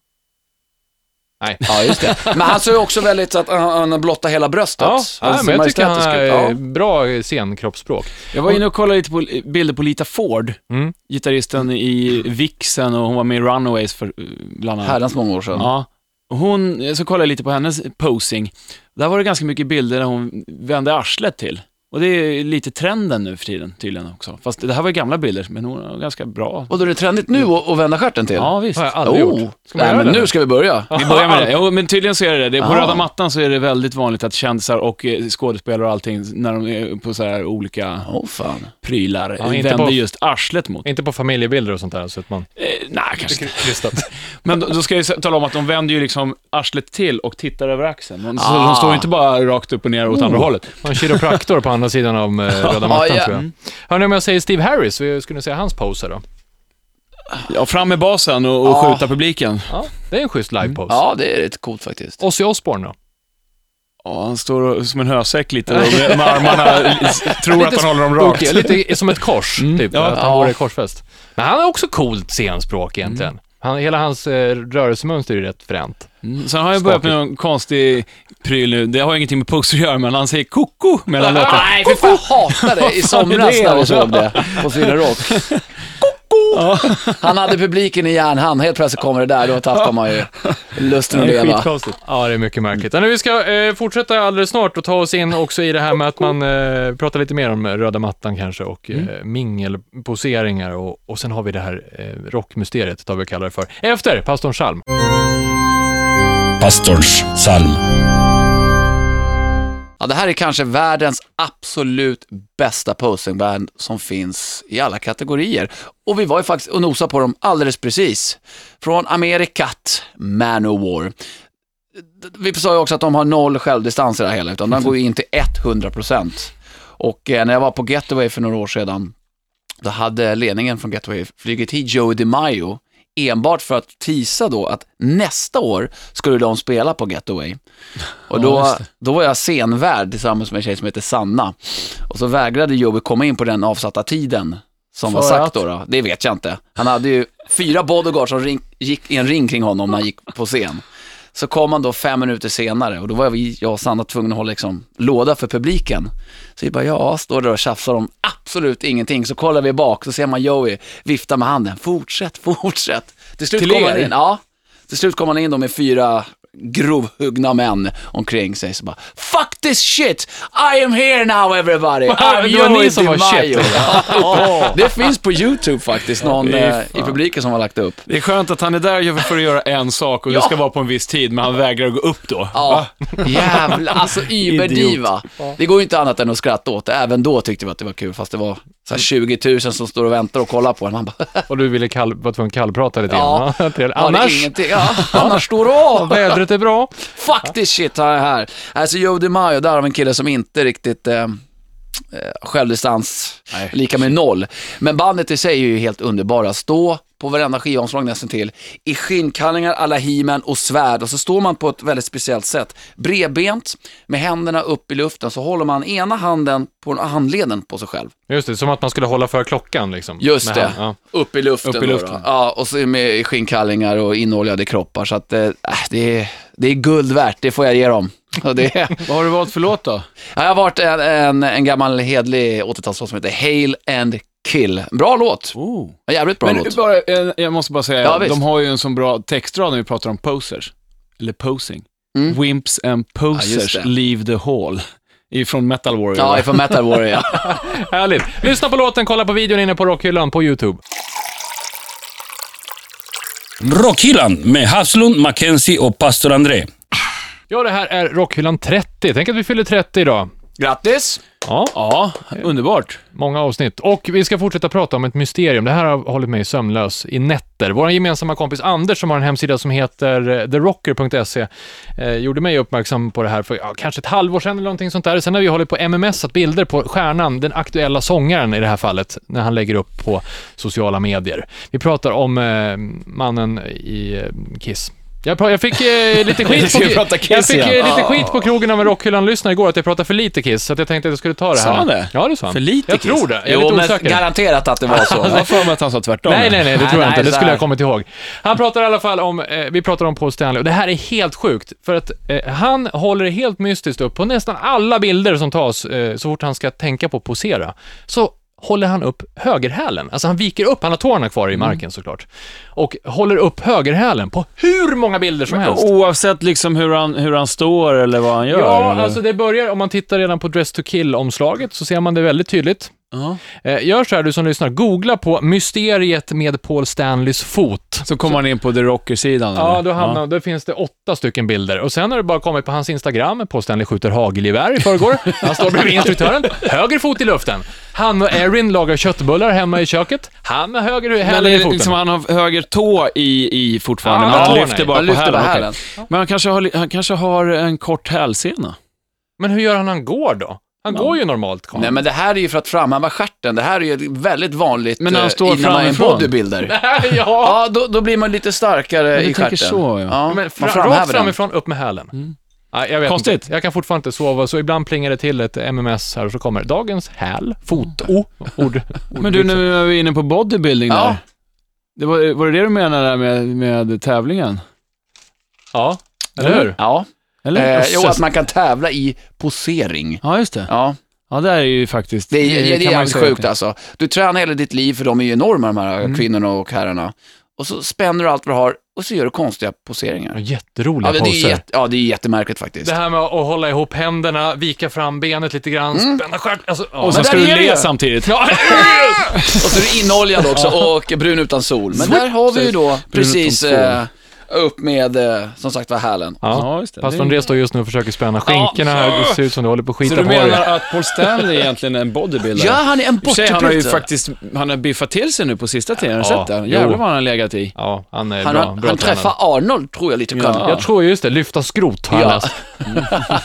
Speaker 2: Nej.
Speaker 4: Ja, just det. Men han ser ju också väldigt så att han, han blottar hela bröstet.
Speaker 2: Ja,
Speaker 4: Alltså,
Speaker 2: ja, men jag tycker han
Speaker 4: majestätisk
Speaker 2: har
Speaker 4: ut.
Speaker 2: eh, bra scenkroppsspråk.
Speaker 3: Jag var inne och kollade lite på bilder på Lita Ford,
Speaker 2: Mm.
Speaker 3: gitarristen i Vixen och hon var med i Runaways för, eh, bland
Speaker 4: Ja,
Speaker 3: annat.
Speaker 4: herrans många år sedan.
Speaker 3: Ja. Hon, så kollade jag lite på hennes posing. Där var det ganska mycket bilder där hon vände arslet till. Och det är lite trenden nu för tiden tydligen också. Fast det här var ju gamla bilder, men hon var ganska bra.
Speaker 4: Och då är det trendigt nu att, att vända stjärten till?
Speaker 3: Ja, visst.
Speaker 2: Har jag aldrig
Speaker 4: Oh.
Speaker 2: gjort. Ska man
Speaker 4: Nej,
Speaker 2: göra
Speaker 4: men
Speaker 2: det?
Speaker 4: nu ska vi börja.
Speaker 3: Vi börjar med
Speaker 4: *laughs*
Speaker 3: det. Jo, men tydligen så är det det. det. På
Speaker 4: Ah.
Speaker 3: röda mattan så är det väldigt vanligt att kändisar och eh, skådespelare och allting, när de är på så här olika
Speaker 4: Åh fan.
Speaker 3: prylar,
Speaker 2: Ja, inte
Speaker 3: vänder
Speaker 2: på-
Speaker 3: just arslet mot.
Speaker 2: Inte på familjebilder och sånt där, så att man...
Speaker 3: Eh, Nej, kanske inte.
Speaker 2: Krystat.
Speaker 3: Men då, då ska jag ju tala om att de vänder ju liksom arslet till och tittar över axeln. De, så
Speaker 4: Ah. Oh.
Speaker 3: de står ju inte bara rakt upp och ner åt andra hållet.
Speaker 2: Och en kiropraktor på andra sidan av eh, röda mattan,
Speaker 4: *laughs* ja. Mm.
Speaker 2: tror jag. Hörni, om jag säger Steve Harris, hur skulle ni säga hans pose då?
Speaker 3: Ja, fram med basen och, och
Speaker 4: Ja. Mm.
Speaker 3: skjuta publiken.
Speaker 2: Ja, det är en schysst live-pose.
Speaker 4: Ja, det är rätt coolt faktiskt.
Speaker 2: Ozzy Osbourne då?
Speaker 3: Ja, han står och- som en hösäck lite och med, med armarna,
Speaker 4: *laughs*
Speaker 3: s- tror att han håller dem rakt.
Speaker 2: Okej, *laughs* lite som ett kors, typ.
Speaker 3: ja.
Speaker 2: Att han
Speaker 4: Mm. Ja. Mm.
Speaker 2: vore korsfäst. Men han har också coolt scenspråk egentligen. Han, hela hans eh, rörelsemönster är ju rätt fränt.
Speaker 3: Mm, Sen har jag börjat med någon konstig pryl nu. Det har ingenting med poser att göra, men han säger koko mellan låtarna.
Speaker 4: Nej, för fan, jag hatade
Speaker 2: *laughs*
Speaker 4: det i somras när vi såg det på Sweden Rock. Han hade publiken i järnhand, helt plötsligt kommer det där, då
Speaker 2: *laughs*
Speaker 4: tappar man ju lusten att leva.
Speaker 2: Ja, det är mycket märkligt. Men vi ska eh, fortsätta alldeles snart och ta oss in också i det här med att man eh, pratar lite mer om röda mattan kanske och
Speaker 3: Mm.
Speaker 2: eh, mingelposeringar och, och sen har vi det här eh, rockmysteriet, tar vi och kallar det för. Efter pastorn Salm.
Speaker 1: Pastors psalm.
Speaker 4: Ja, det här är kanske världens absolut bästa posingband som finns i alla kategorier. Och vi var ju faktiskt och nosade på dem alldeles precis. Från Amerikat, Manowar. D- Vi sa ju också att de har noll självdistans i det här hela, utan de går ju in till 100%. Och eh, när jag var på Getaway för några år sedan, då hade ledningen från Getaway flugit hit Joey DiMaggio enbart för att tisa då att nästa år skulle de spela på Getaway. Och då,
Speaker 3: Ja, just det.
Speaker 4: då var jag scenvärd tillsammans med en tjej som heter Sanna. Och så vägrade Joey komma in på den avsatta tiden som var
Speaker 3: För
Speaker 4: sagt då, då. Det vet jag inte. Han hade ju fyra bodyguards som ring, gick i en ring kring honom när han gick på scen. Så kom han då fem minuter senare och då var vi, jag och Sanna tvungna att hålla liksom, låda för publiken. Så vi bara, ja, står där och tjafsar om absolut ingenting. Så kollar vi bak, så ser man Joey vifta med handen. Fortsätt, fortsätt. Till slut
Speaker 3: Till
Speaker 4: kom
Speaker 3: er?
Speaker 4: han in, ja. Till slut kom han in då med fyra grovhuggna män omkring sig. Så bara, fuck this shit! I am here now everybody!
Speaker 2: *laughs*
Speaker 4: I'm
Speaker 2: Det var ni
Speaker 4: Joey
Speaker 2: som var
Speaker 4: DiMaggio."
Speaker 2: shit.
Speaker 4: *laughs*
Speaker 2: *laughs*
Speaker 4: Ja, Det finns på YouTube faktiskt, någon
Speaker 3: Fy
Speaker 4: eh,
Speaker 3: fan.
Speaker 4: i publiken som har lagt upp.
Speaker 3: Det är skönt att han är där för att göra en sak och det
Speaker 4: Ja.
Speaker 3: ska vara på en viss tid, men han vägrar att gå upp då.
Speaker 4: Ja, jävlar. *laughs* Alltså überdiva. Det går ju inte annat än att skratta åt det. Även då tyckte vi att det var kul, fast det var så här 20 000 som står och väntar och kollar på en. Man bara, *laughs*
Speaker 2: Och du ville kall, var tvungen att kallprata lite
Speaker 4: Ja.
Speaker 2: grann. *laughs* Ja. trevligt.
Speaker 4: "Ja, det är
Speaker 2: Annars,
Speaker 4: ingenting. Ja, *laughs* annars står det av.
Speaker 2: vädret är bra.
Speaker 4: Faktiskt shit har jag här. Alltså Joe DiMaggio, där har vi en kille som inte riktigt eh, eh, självdistans
Speaker 3: Nej,
Speaker 4: lika med noll. Men bandet i sig är ju helt underbara. Stå på varenda skivomslag nästan till i skinnkallingar alla himen och svärd och så står man på ett väldigt speciellt sätt. Bredbent med händerna upp i luften så håller man ena handen på handleden på sig själv.
Speaker 2: Just det, som att man skulle hålla för klockan liksom.
Speaker 4: Just
Speaker 2: Med
Speaker 4: det,
Speaker 2: hand- ja.
Speaker 4: upp i luften.
Speaker 3: Upp i
Speaker 4: då
Speaker 3: luften.
Speaker 4: Då, Ja, och så med äh, i skinnkallingar och inoljade kroppar. Så att, eh, det, är, det är guld värt, det får jag ge dem. Och det är,
Speaker 3: Vad har du valt för låt då?
Speaker 4: jag har varit en, en, en gammal hedlig 80-talslåt som heter Hail and Kill. Bra låt. Jävligt bra
Speaker 3: Men
Speaker 4: låt.
Speaker 3: bara, eh, jag måste bara säga,
Speaker 4: Ja, visst.
Speaker 3: de har ju en sån bra textrad när vi pratar om posers. Eller posing.
Speaker 4: Mm.
Speaker 3: Wimps and posers
Speaker 4: Ja, just det.
Speaker 3: leave the hall. Ifrån Metal Warrior.
Speaker 4: Ja,
Speaker 3: va?
Speaker 4: ifrån Metal
Speaker 3: *laughs*
Speaker 4: Warrior, ja.
Speaker 2: Härligt. Lyssna på låten, kolla på videon inne på Rockhyllan på YouTube.
Speaker 1: Rockhyllan med Haslund, Mackenzie och pastor André.
Speaker 2: Ja, det här är Rockhyllan 30. Tänk att vi fyller 30 idag.
Speaker 4: Grattis!
Speaker 2: Ja,
Speaker 3: ja underbart.
Speaker 2: många avsnitt. Och vi ska fortsätta prata om ett mysterium. Det här har hållit mig sömnlös i nätter. Vår gemensamma kompis Anders, som har en hemsida som heter eh, therocker.se, eh, gjorde mig uppmärksam på det här för ja, kanske ett halvår sedan eller någonting sånt där. Sen har vi hållit på MMSat bilder på stjärnan, den aktuella sångaren i det här fallet, när han lägger upp på sociala medier. Vi pratar om eh, mannen i eh, Kiss. Jag, pra- jag fick eh, lite
Speaker 3: *laughs*
Speaker 2: skit
Speaker 3: Ska vi
Speaker 2: på,
Speaker 3: prata Kiss
Speaker 2: jag fick, eh,
Speaker 3: igen?
Speaker 2: lite skit på krogen av en rockhyllan-lyssnare igår att jag pratade för lite Kiss, så att jag tänkte att jag skulle ta det här.
Speaker 3: Sa han det?
Speaker 2: Ja, det sa han.
Speaker 3: För lite
Speaker 2: Jag
Speaker 3: Kiss?
Speaker 2: tror det. Jag är
Speaker 4: Jo,
Speaker 2: lite
Speaker 4: men
Speaker 2: osäker.
Speaker 4: garanterat att det var *laughs* så.
Speaker 3: Jag har för mig att han sa tvärtom.
Speaker 2: Nej, nej, nej, det
Speaker 4: Nej,
Speaker 2: tror jag
Speaker 4: nej,
Speaker 2: inte. Det
Speaker 4: så
Speaker 2: skulle
Speaker 4: här.
Speaker 2: jag kommit ihåg. Han pratar i alla fall om, eh, vi pratar om Paul Stanley och det här är helt sjukt. För att eh, han håller det helt mystiskt upp på nästan alla bilder som tas eh, så fort han ska tänka på att posera. Så håller han upp högerhälen. Alltså han viker upp, han har tårna kvar
Speaker 4: Mm.
Speaker 2: i marken såklart. Och håller upp högerhälen på hur många bilder som helst.
Speaker 3: Oavsett liksom hur han, hur han står eller vad han gör.
Speaker 2: Ja,
Speaker 3: eller?
Speaker 2: alltså det börjar, om man tittar redan på Dress to Kill-omslaget så ser man det väldigt tydligt.
Speaker 3: Ja.
Speaker 2: Eh, Gör så här du som lyssnar, googla på mysteriet med Paul Stanleys fot.
Speaker 3: Så kommer han in på The Rocker-sidan.
Speaker 2: Ja,
Speaker 3: eller?
Speaker 2: då, hamnar, då finns det åtta stycken bilder. Och sen har det bara kommit på hans Instagram, Paul Stanley skjuter hagelgevär i förrgår. Han står bredvid instruktören, höger fot i luften. Han och Erin lagar köttbullar hemma i köket. Han med höger
Speaker 3: Men
Speaker 2: hälen
Speaker 3: det
Speaker 2: i
Speaker 3: är
Speaker 2: foten.
Speaker 3: liksom, han har höger tå i, i fortfarande,
Speaker 2: Ja,
Speaker 3: men han
Speaker 2: tårna
Speaker 3: lyfter
Speaker 2: i.
Speaker 3: bara
Speaker 4: Ah, Han
Speaker 3: på
Speaker 4: lyfter bara
Speaker 3: hälen. okej.
Speaker 4: hälen.
Speaker 3: Men han kanske, har, han kanske har en kort hälsena.
Speaker 2: Men hur gör han när han går då? Han går ju normalt, Carl.
Speaker 4: Nej, men det här är ju för att framhäva stjärten. Det här är ju ett väldigt vanligt
Speaker 3: Men när han
Speaker 4: eh,
Speaker 3: står
Speaker 4: innan man är en
Speaker 3: framifrån. *laughs*
Speaker 4: bodybuilder.
Speaker 2: *laughs* ja.
Speaker 4: Ja, då, då blir man lite starkare
Speaker 3: du
Speaker 4: i
Speaker 3: tänker
Speaker 4: stjärten.
Speaker 3: så, ja.
Speaker 2: Men
Speaker 4: man
Speaker 2: fra,
Speaker 4: framhäver
Speaker 2: rakt
Speaker 4: den.
Speaker 2: framifrån, upp med hälen. Nej, jag vet
Speaker 3: Konstigt.
Speaker 2: Inte. Jag kan fortfarande inte sova, så ibland plingar det till ett MMS här och så kommer dagens häl, fot, o, ord.
Speaker 3: Men du, nu är vi inne på bodybuilding
Speaker 4: Ja.
Speaker 3: där. Det var, var det det du menade där med, med tävlingen?
Speaker 2: Ja, eller hur?
Speaker 4: Ja,
Speaker 3: Eller?
Speaker 4: eh, jo,
Speaker 3: Jösses.
Speaker 4: att man kan tävla i posering.
Speaker 3: Ja, just det.
Speaker 4: Ja,
Speaker 3: Ja, det här är ju faktiskt...
Speaker 4: det är, det,
Speaker 3: kan
Speaker 4: är
Speaker 3: man ju
Speaker 4: jävligt
Speaker 3: säga. Mm.
Speaker 4: sjukt alltså. Du tränar hela ditt liv, för de är ju enorma de här kvinnorna och herrarna. Och så spänner du allt vad du har och så gör du konstiga poseringar.
Speaker 2: Jätteroliga
Speaker 4: Ja, det, det, är,
Speaker 2: poser.
Speaker 4: jätte, ja, det är jättemärkligt faktiskt.
Speaker 2: Det här med att hålla ihop händerna, vika fram benet lite grann, spänna stjärten. Alltså, ja.
Speaker 3: Mm. Och sen
Speaker 4: Men
Speaker 3: ska
Speaker 4: där
Speaker 3: du
Speaker 4: är det
Speaker 3: le
Speaker 4: ju.
Speaker 3: samtidigt.
Speaker 4: Och så är du inoljad
Speaker 3: *laughs*
Speaker 4: också och brun utan sol. Men där har vi ju då precis
Speaker 3: utan sol.
Speaker 4: eh, upp med, eh, som sagt var, hälen.
Speaker 2: Ja,
Speaker 3: just det.
Speaker 2: Pastor
Speaker 3: Det är-
Speaker 2: André står just nu och försöker spänna skinkorna. här. Det ser ut som du håller på att
Speaker 3: Så
Speaker 2: skita
Speaker 3: du
Speaker 2: på dig.
Speaker 3: menar att Paul Stanley är egentligen en bodybuilder?
Speaker 4: Ja, han är en
Speaker 3: I och för sig, han har ju
Speaker 4: bortbrytare.
Speaker 3: faktiskt han har biffat till sig nu på sista tiden, har du sett
Speaker 2: Ja,
Speaker 3: det?
Speaker 2: jo.
Speaker 3: Jävlar vad han har legat i.
Speaker 2: Ja, han är
Speaker 4: Han,
Speaker 2: bra.
Speaker 4: har,
Speaker 2: bra
Speaker 4: han
Speaker 2: tränad.
Speaker 4: träffar Arnold, tror jag lite grann.
Speaker 3: Ja.
Speaker 2: Jag tror just det, lyfta skrot har jag
Speaker 4: Ja.
Speaker 2: läst. *laughs*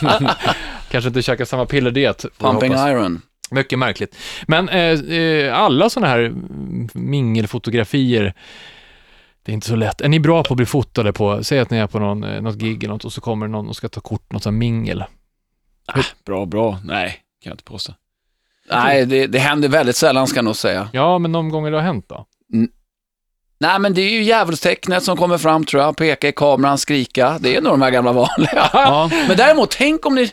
Speaker 2: Kanske inte käka samma pillerdiet. får jag
Speaker 4: Pumping
Speaker 2: hoppas.
Speaker 4: Iron.
Speaker 2: Mycket märkligt. Men eh, eh, alla sådana här mm, mingelfotografier, det är inte så lätt. Är ni bra på att bli fotade på, säg att ni är på någon, eh, något gig eller något och så kommer någon och ska ta kort, något sånt här mingel.
Speaker 3: Bra, bra. Nej, kan jag inte påstå.
Speaker 4: Nej, det, det händer väldigt sällan ska jag nog säga.
Speaker 2: Ja, men någon gånger det har hänt då?
Speaker 4: Nej, men det är ju djävulstecknet som kommer fram tror jag. Peka i kameran, skrika. Det är nog de här gamla vanliga.
Speaker 2: *laughs*
Speaker 3: Ja.
Speaker 4: Men däremot, tänk om ni...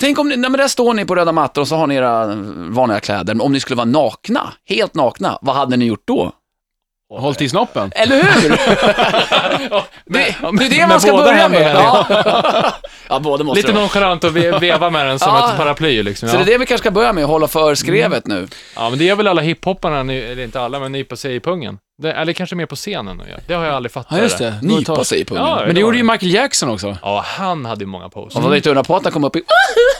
Speaker 4: Tänk om ni, nej men där står ni på röda mattor och så har ni era vanliga kläder. Men om ni skulle vara nakna, helt nakna, vad hade ni gjort då?
Speaker 3: Håll till snoppen.
Speaker 4: Eller hur? det, det är det man ska
Speaker 3: båda
Speaker 4: börja
Speaker 3: händerna,
Speaker 4: med. Ja. *laughs* ja, båda måste
Speaker 2: Lite
Speaker 4: det vara.
Speaker 2: nonchalant att
Speaker 4: *laughs*
Speaker 2: ve- veva med den som
Speaker 4: Ja.
Speaker 2: ett paraply liksom.
Speaker 4: Så det
Speaker 2: Ja.
Speaker 4: är det vi kanske ska börja med, hålla för skrevet nu.
Speaker 2: ja, men det gör väl alla hiphopparna, ny- eller inte alla, men nypa sig i pungen. Det, eller kanske mer på scenen och gör. Det har jag aldrig fattat.
Speaker 3: Ja, just det.
Speaker 4: Nypa sig i pungen.
Speaker 2: Ja,
Speaker 3: Men det
Speaker 2: var
Speaker 3: gjorde ju Michael Jackson också.
Speaker 2: Ja, han hade ju många poser.
Speaker 4: Och var det inte undra på att han kom upp i...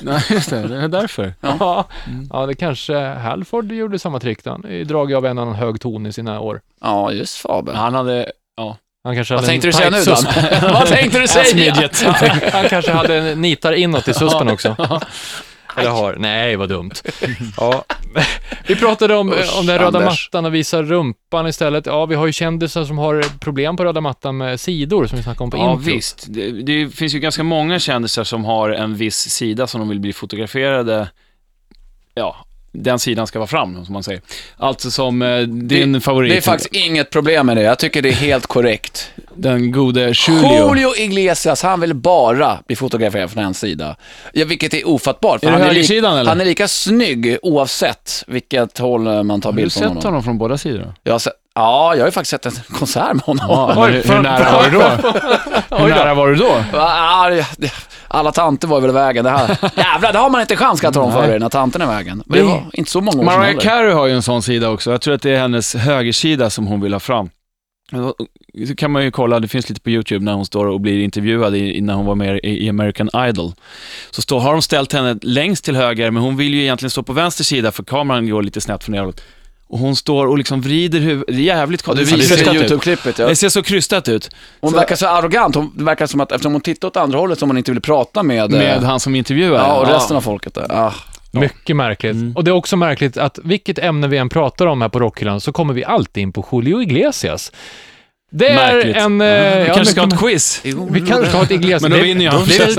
Speaker 3: Nej, *laughs* just det. Det är därför.
Speaker 2: Ja,
Speaker 4: Mm.
Speaker 2: ja det kanske Halford gjorde samma trick. då. Han är ju dragit av en annan hög ton i sina år.
Speaker 4: Ja, just Faber.
Speaker 3: Han hade... Ja.
Speaker 2: Han kanske
Speaker 4: Vad
Speaker 2: hade en
Speaker 4: tänkte du säga nu
Speaker 2: tight
Speaker 4: då?
Speaker 2: susp.
Speaker 4: *laughs* Vad tänkte du
Speaker 2: *laughs*
Speaker 4: säga? *laughs*
Speaker 2: Han kanske hade en nitar inåt i suspen också. Eller har. Nej, vad
Speaker 4: *laughs*
Speaker 2: dumt. Ja. *laughs* Vi pratade om,
Speaker 4: Usch,
Speaker 2: om den röda
Speaker 4: Anders.
Speaker 2: mattan och visa rumpan istället. Ja, vi har ju kändisar som har problem på röda mattan med sidor, som vi snackade om på
Speaker 3: Ja,
Speaker 2: intro.
Speaker 3: visst. Det, det finns ju ganska många kändisar som har en viss sida som de vill bli fotograferade ja, den sidan ska vara fram, som man säger. Alltså som eh, din favorit,
Speaker 4: Det är faktiskt inget problem med det. Jag tycker det är helt korrekt.
Speaker 3: den gode Julio.
Speaker 4: Julio Iglesias, han vill bara bli fotograferad från en sida. Ja, vilket är ofattbart. för
Speaker 3: Är det
Speaker 4: han, är lik-
Speaker 3: högersidan, eller?
Speaker 4: han är lika snygg oavsett vilket håll eh, man tar
Speaker 3: Har du
Speaker 4: bild från honom.
Speaker 3: sett honom från båda sidor?
Speaker 4: Jag har sett, ja, jag har ju faktiskt sett en *laughs* konsert med honom.
Speaker 3: Ja,
Speaker 2: Oj,
Speaker 3: hur, hur
Speaker 2: fan,
Speaker 3: nära
Speaker 2: fan.
Speaker 3: var du då? Hur nära var du då?
Speaker 4: *laughs* Va? Ja, det- Alla tanter var väl i vägen. Det här, jävlar, det har man inte chans att ta dem för er när tanten är i vägen. Men det var inte så många år sedan
Speaker 3: Mariah
Speaker 4: heller.
Speaker 3: Carey har ju en sån sida också. Jag tror att det är hennes högersida som hon vill ha fram. Så kan man ju kolla, det finns lite på YouTube när hon står och blir intervjuad i, när hon var med i i American Idol. Så står, har de ställt henne längst till höger, men hon vill ju egentligen stå på vänster sida för kameran går lite snett från det hållet. Och hon står och liksom vrider huvudet, det är jävligt
Speaker 4: Du
Speaker 3: konstigt. Det typ. ser
Speaker 4: visade
Speaker 3: krystat ut.
Speaker 4: YouTube-klippet. Ja.
Speaker 3: Det ser så krystat ut.
Speaker 4: Hon verkar så arrogant. Hon det verkar som att eftersom hon tittar åt andra hållet som hon inte vill prata med, eh,
Speaker 3: Med han som intervjuar.
Speaker 4: ja, och resten av folket. Där. Ah.
Speaker 2: Mycket märkligt.
Speaker 4: Mm.
Speaker 2: Och det är också märkligt att vilket ämne vi än pratar om här på Rockhyllan så kommer vi alltid in på Julio Iglesias. Det är
Speaker 3: Märkligt.
Speaker 2: en... eh,
Speaker 4: Mm.
Speaker 3: Vi
Speaker 2: ja,
Speaker 3: kanske ska ha
Speaker 2: mycket-
Speaker 3: ett quiz.
Speaker 2: vi kanske ska ha ett Iglesias.
Speaker 3: Men då
Speaker 2: Det-
Speaker 3: vinner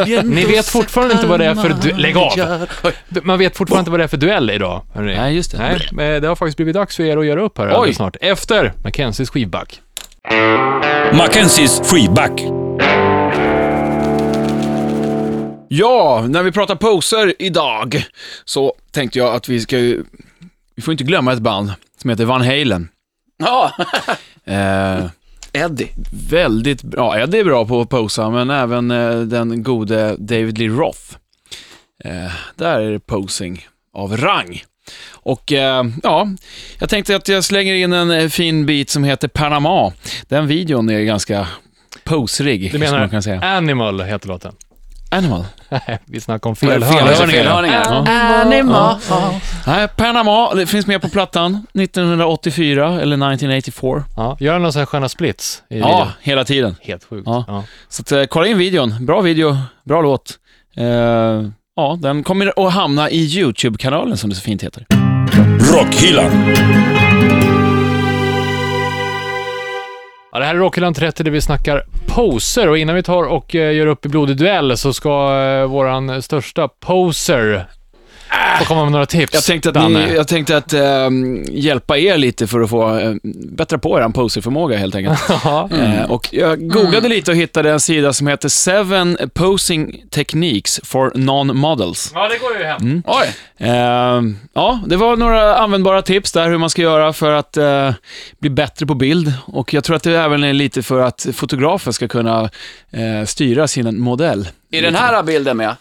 Speaker 3: jag.
Speaker 2: Ni vet fortfarande inte vad det är för... Du, lägg av! Man vet fortfarande inte vad det är för duell idag, hörni.
Speaker 3: Nej, just det.
Speaker 2: Nej, men det har faktiskt blivit dags för er att göra upp här alldeles snart. Efter Mackenzies skivback.
Speaker 1: Mackenzies freeback.
Speaker 3: Ja, när vi pratar poser idag så tänkte jag att vi ska ju... Vi får inte glömma ett band som heter Van Halen.
Speaker 4: Ja, *laughs*
Speaker 3: Eh,
Speaker 4: Eddie.
Speaker 3: väldigt bra. Ja, det är bra på att posa, men även eh, den gode David Lee Roth. Eh, där är det posing av rang. Och eh, ja, jag tänkte att jag slänger in en eh, fin bit som heter Panama. Den videon är ganska posrig,
Speaker 2: Du
Speaker 3: som man kan
Speaker 2: menar
Speaker 3: säga.
Speaker 2: Animal heter låten?
Speaker 3: Animal.
Speaker 2: Nej, vi snackar om
Speaker 3: Felhörningar.
Speaker 2: felhörningar.
Speaker 4: Felhörningar.
Speaker 3: Ja.
Speaker 4: Animal.
Speaker 3: Nej, Panama, det finns med på plattan 1984 eller 1984.
Speaker 2: Ja, gör någon sån här sköna splits i videon.
Speaker 3: Ja, hela tiden.
Speaker 2: Helt sjukt.
Speaker 3: Ja.
Speaker 2: Ja.
Speaker 3: Så att, eh, kolla in videon. Bra video, bra låt. Eh, ja, den kommer att hamna i YouTube-kanalen som det så fint heter.
Speaker 1: Rockhyllan.
Speaker 2: Ja, det här är Rockyland 30 där vi snackar poser och innan vi tar och eh, gör upp i blodig duell så ska eh, våran största poser få komma med några tips.
Speaker 3: Jag tänkte att,
Speaker 2: Danne.
Speaker 3: ni, jag tänkte att eh, hjälpa er lite för att få eh, bättra på er poserförmåga helt enkelt. *laughs*
Speaker 2: Ja.
Speaker 3: Eh, och jag googlade lite och hittade en sida som heter Seven Posing Techniques for Non-Models.
Speaker 2: ja, det går ju hem.
Speaker 3: Mm.
Speaker 4: Oj.
Speaker 3: Ehm, ja, det var några användbara tips där hur man ska göra för att eh, bli bättre på bild. Och jag tror att det även är lite för att fotografen ska kunna eh, styra sin modell.
Speaker 4: I den här bilden med.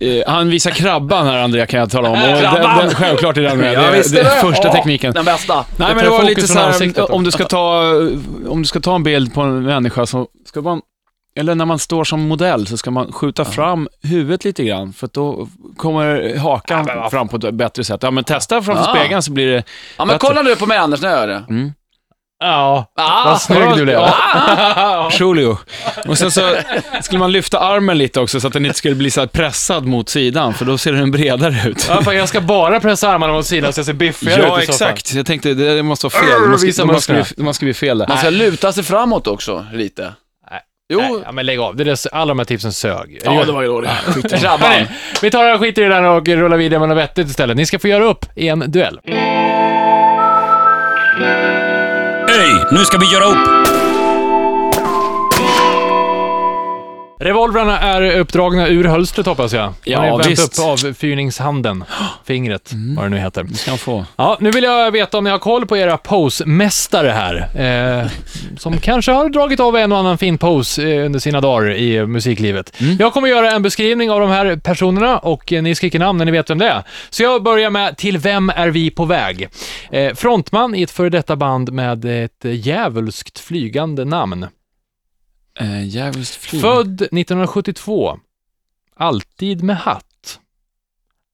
Speaker 3: Eh, han visar krabban här, Andrea, kan jag tala om. Och den,
Speaker 4: *laughs* Krabban!
Speaker 3: den, självklart är den med.
Speaker 4: Ja,
Speaker 3: Det,
Speaker 4: visst
Speaker 3: det
Speaker 4: är det.
Speaker 3: är första
Speaker 4: Ja,
Speaker 3: tekniken.
Speaker 4: Den bästa.
Speaker 3: Nej, men
Speaker 2: tar
Speaker 3: det var
Speaker 2: fokus
Speaker 3: lite
Speaker 2: från
Speaker 3: så
Speaker 2: ansiktet
Speaker 3: här,
Speaker 2: också.
Speaker 3: om du ska ta, om du ska ta en bild på en människa så ska man, eller när man står som modell så ska man skjuta fram huvudet lite grann för att då kommer hakan fram på ett bättre sätt. Ja, men testa framför
Speaker 4: Ah.
Speaker 3: spegeln så blir det...
Speaker 4: Ja, men kolla nu på mig Anders, nu gör jag det.
Speaker 2: Ja,
Speaker 4: Ah,
Speaker 2: vad snygg du blev.
Speaker 3: Julio. Och sen så skulle man lyfta armen lite också så att den inte skulle bli så här pressad mot sidan för då ser den bredare ut.
Speaker 2: Ja, fan, jag ska bara pressa armarna åt sidan så jag ser biffigare ut i
Speaker 3: *laughs*
Speaker 2: så
Speaker 3: Ja,
Speaker 2: fall.
Speaker 3: exakt. Jag tänkte, det måste vara fel. Man
Speaker 2: Visa
Speaker 3: ska, man ska,
Speaker 2: musklerna.
Speaker 3: bli, man ska bli fel där.
Speaker 4: Man ska luta sig framåt också, lite.
Speaker 2: Nej. Nej,
Speaker 4: Jo,
Speaker 2: ja, men lägg av. Det där, alla de här tipsen sög.
Speaker 3: Ja, det var ju
Speaker 4: *laughs*
Speaker 3: dåligt.
Speaker 4: krabban.
Speaker 2: Vi tar och skiter i det där och rullar vidare med något vettigt istället. Ni ska få göra upp i en duell.
Speaker 1: Hej, nu ska vi göra upp. *laughs*
Speaker 2: Revolvrarna är uppdragna ur hölstret hoppas jag.
Speaker 3: Ja,
Speaker 2: Man har vänt
Speaker 3: visst. Mm.
Speaker 2: upp av fyrningshanden. *gasps* Fingret, vad det nu heter.
Speaker 3: Kan få.
Speaker 2: Ja, nu vill jag veta om ni har koll på era pose-mästare här. Eh, som kanske har dragit av en och annan fin pose eh, under sina dagar i eh, musiklivet. Jag kommer göra en beskrivning av de här personerna och eh, ni skriker namn när ni vet vem det är. Så jag börjar med “Till vem är vi på väg?” eh, Frontman i ett före detta band med ett eh, djävulskt flygande namn.
Speaker 3: Eh, Djävulskt
Speaker 4: Mm.
Speaker 3: flyg.
Speaker 2: Född 1972. Alltid med hatt.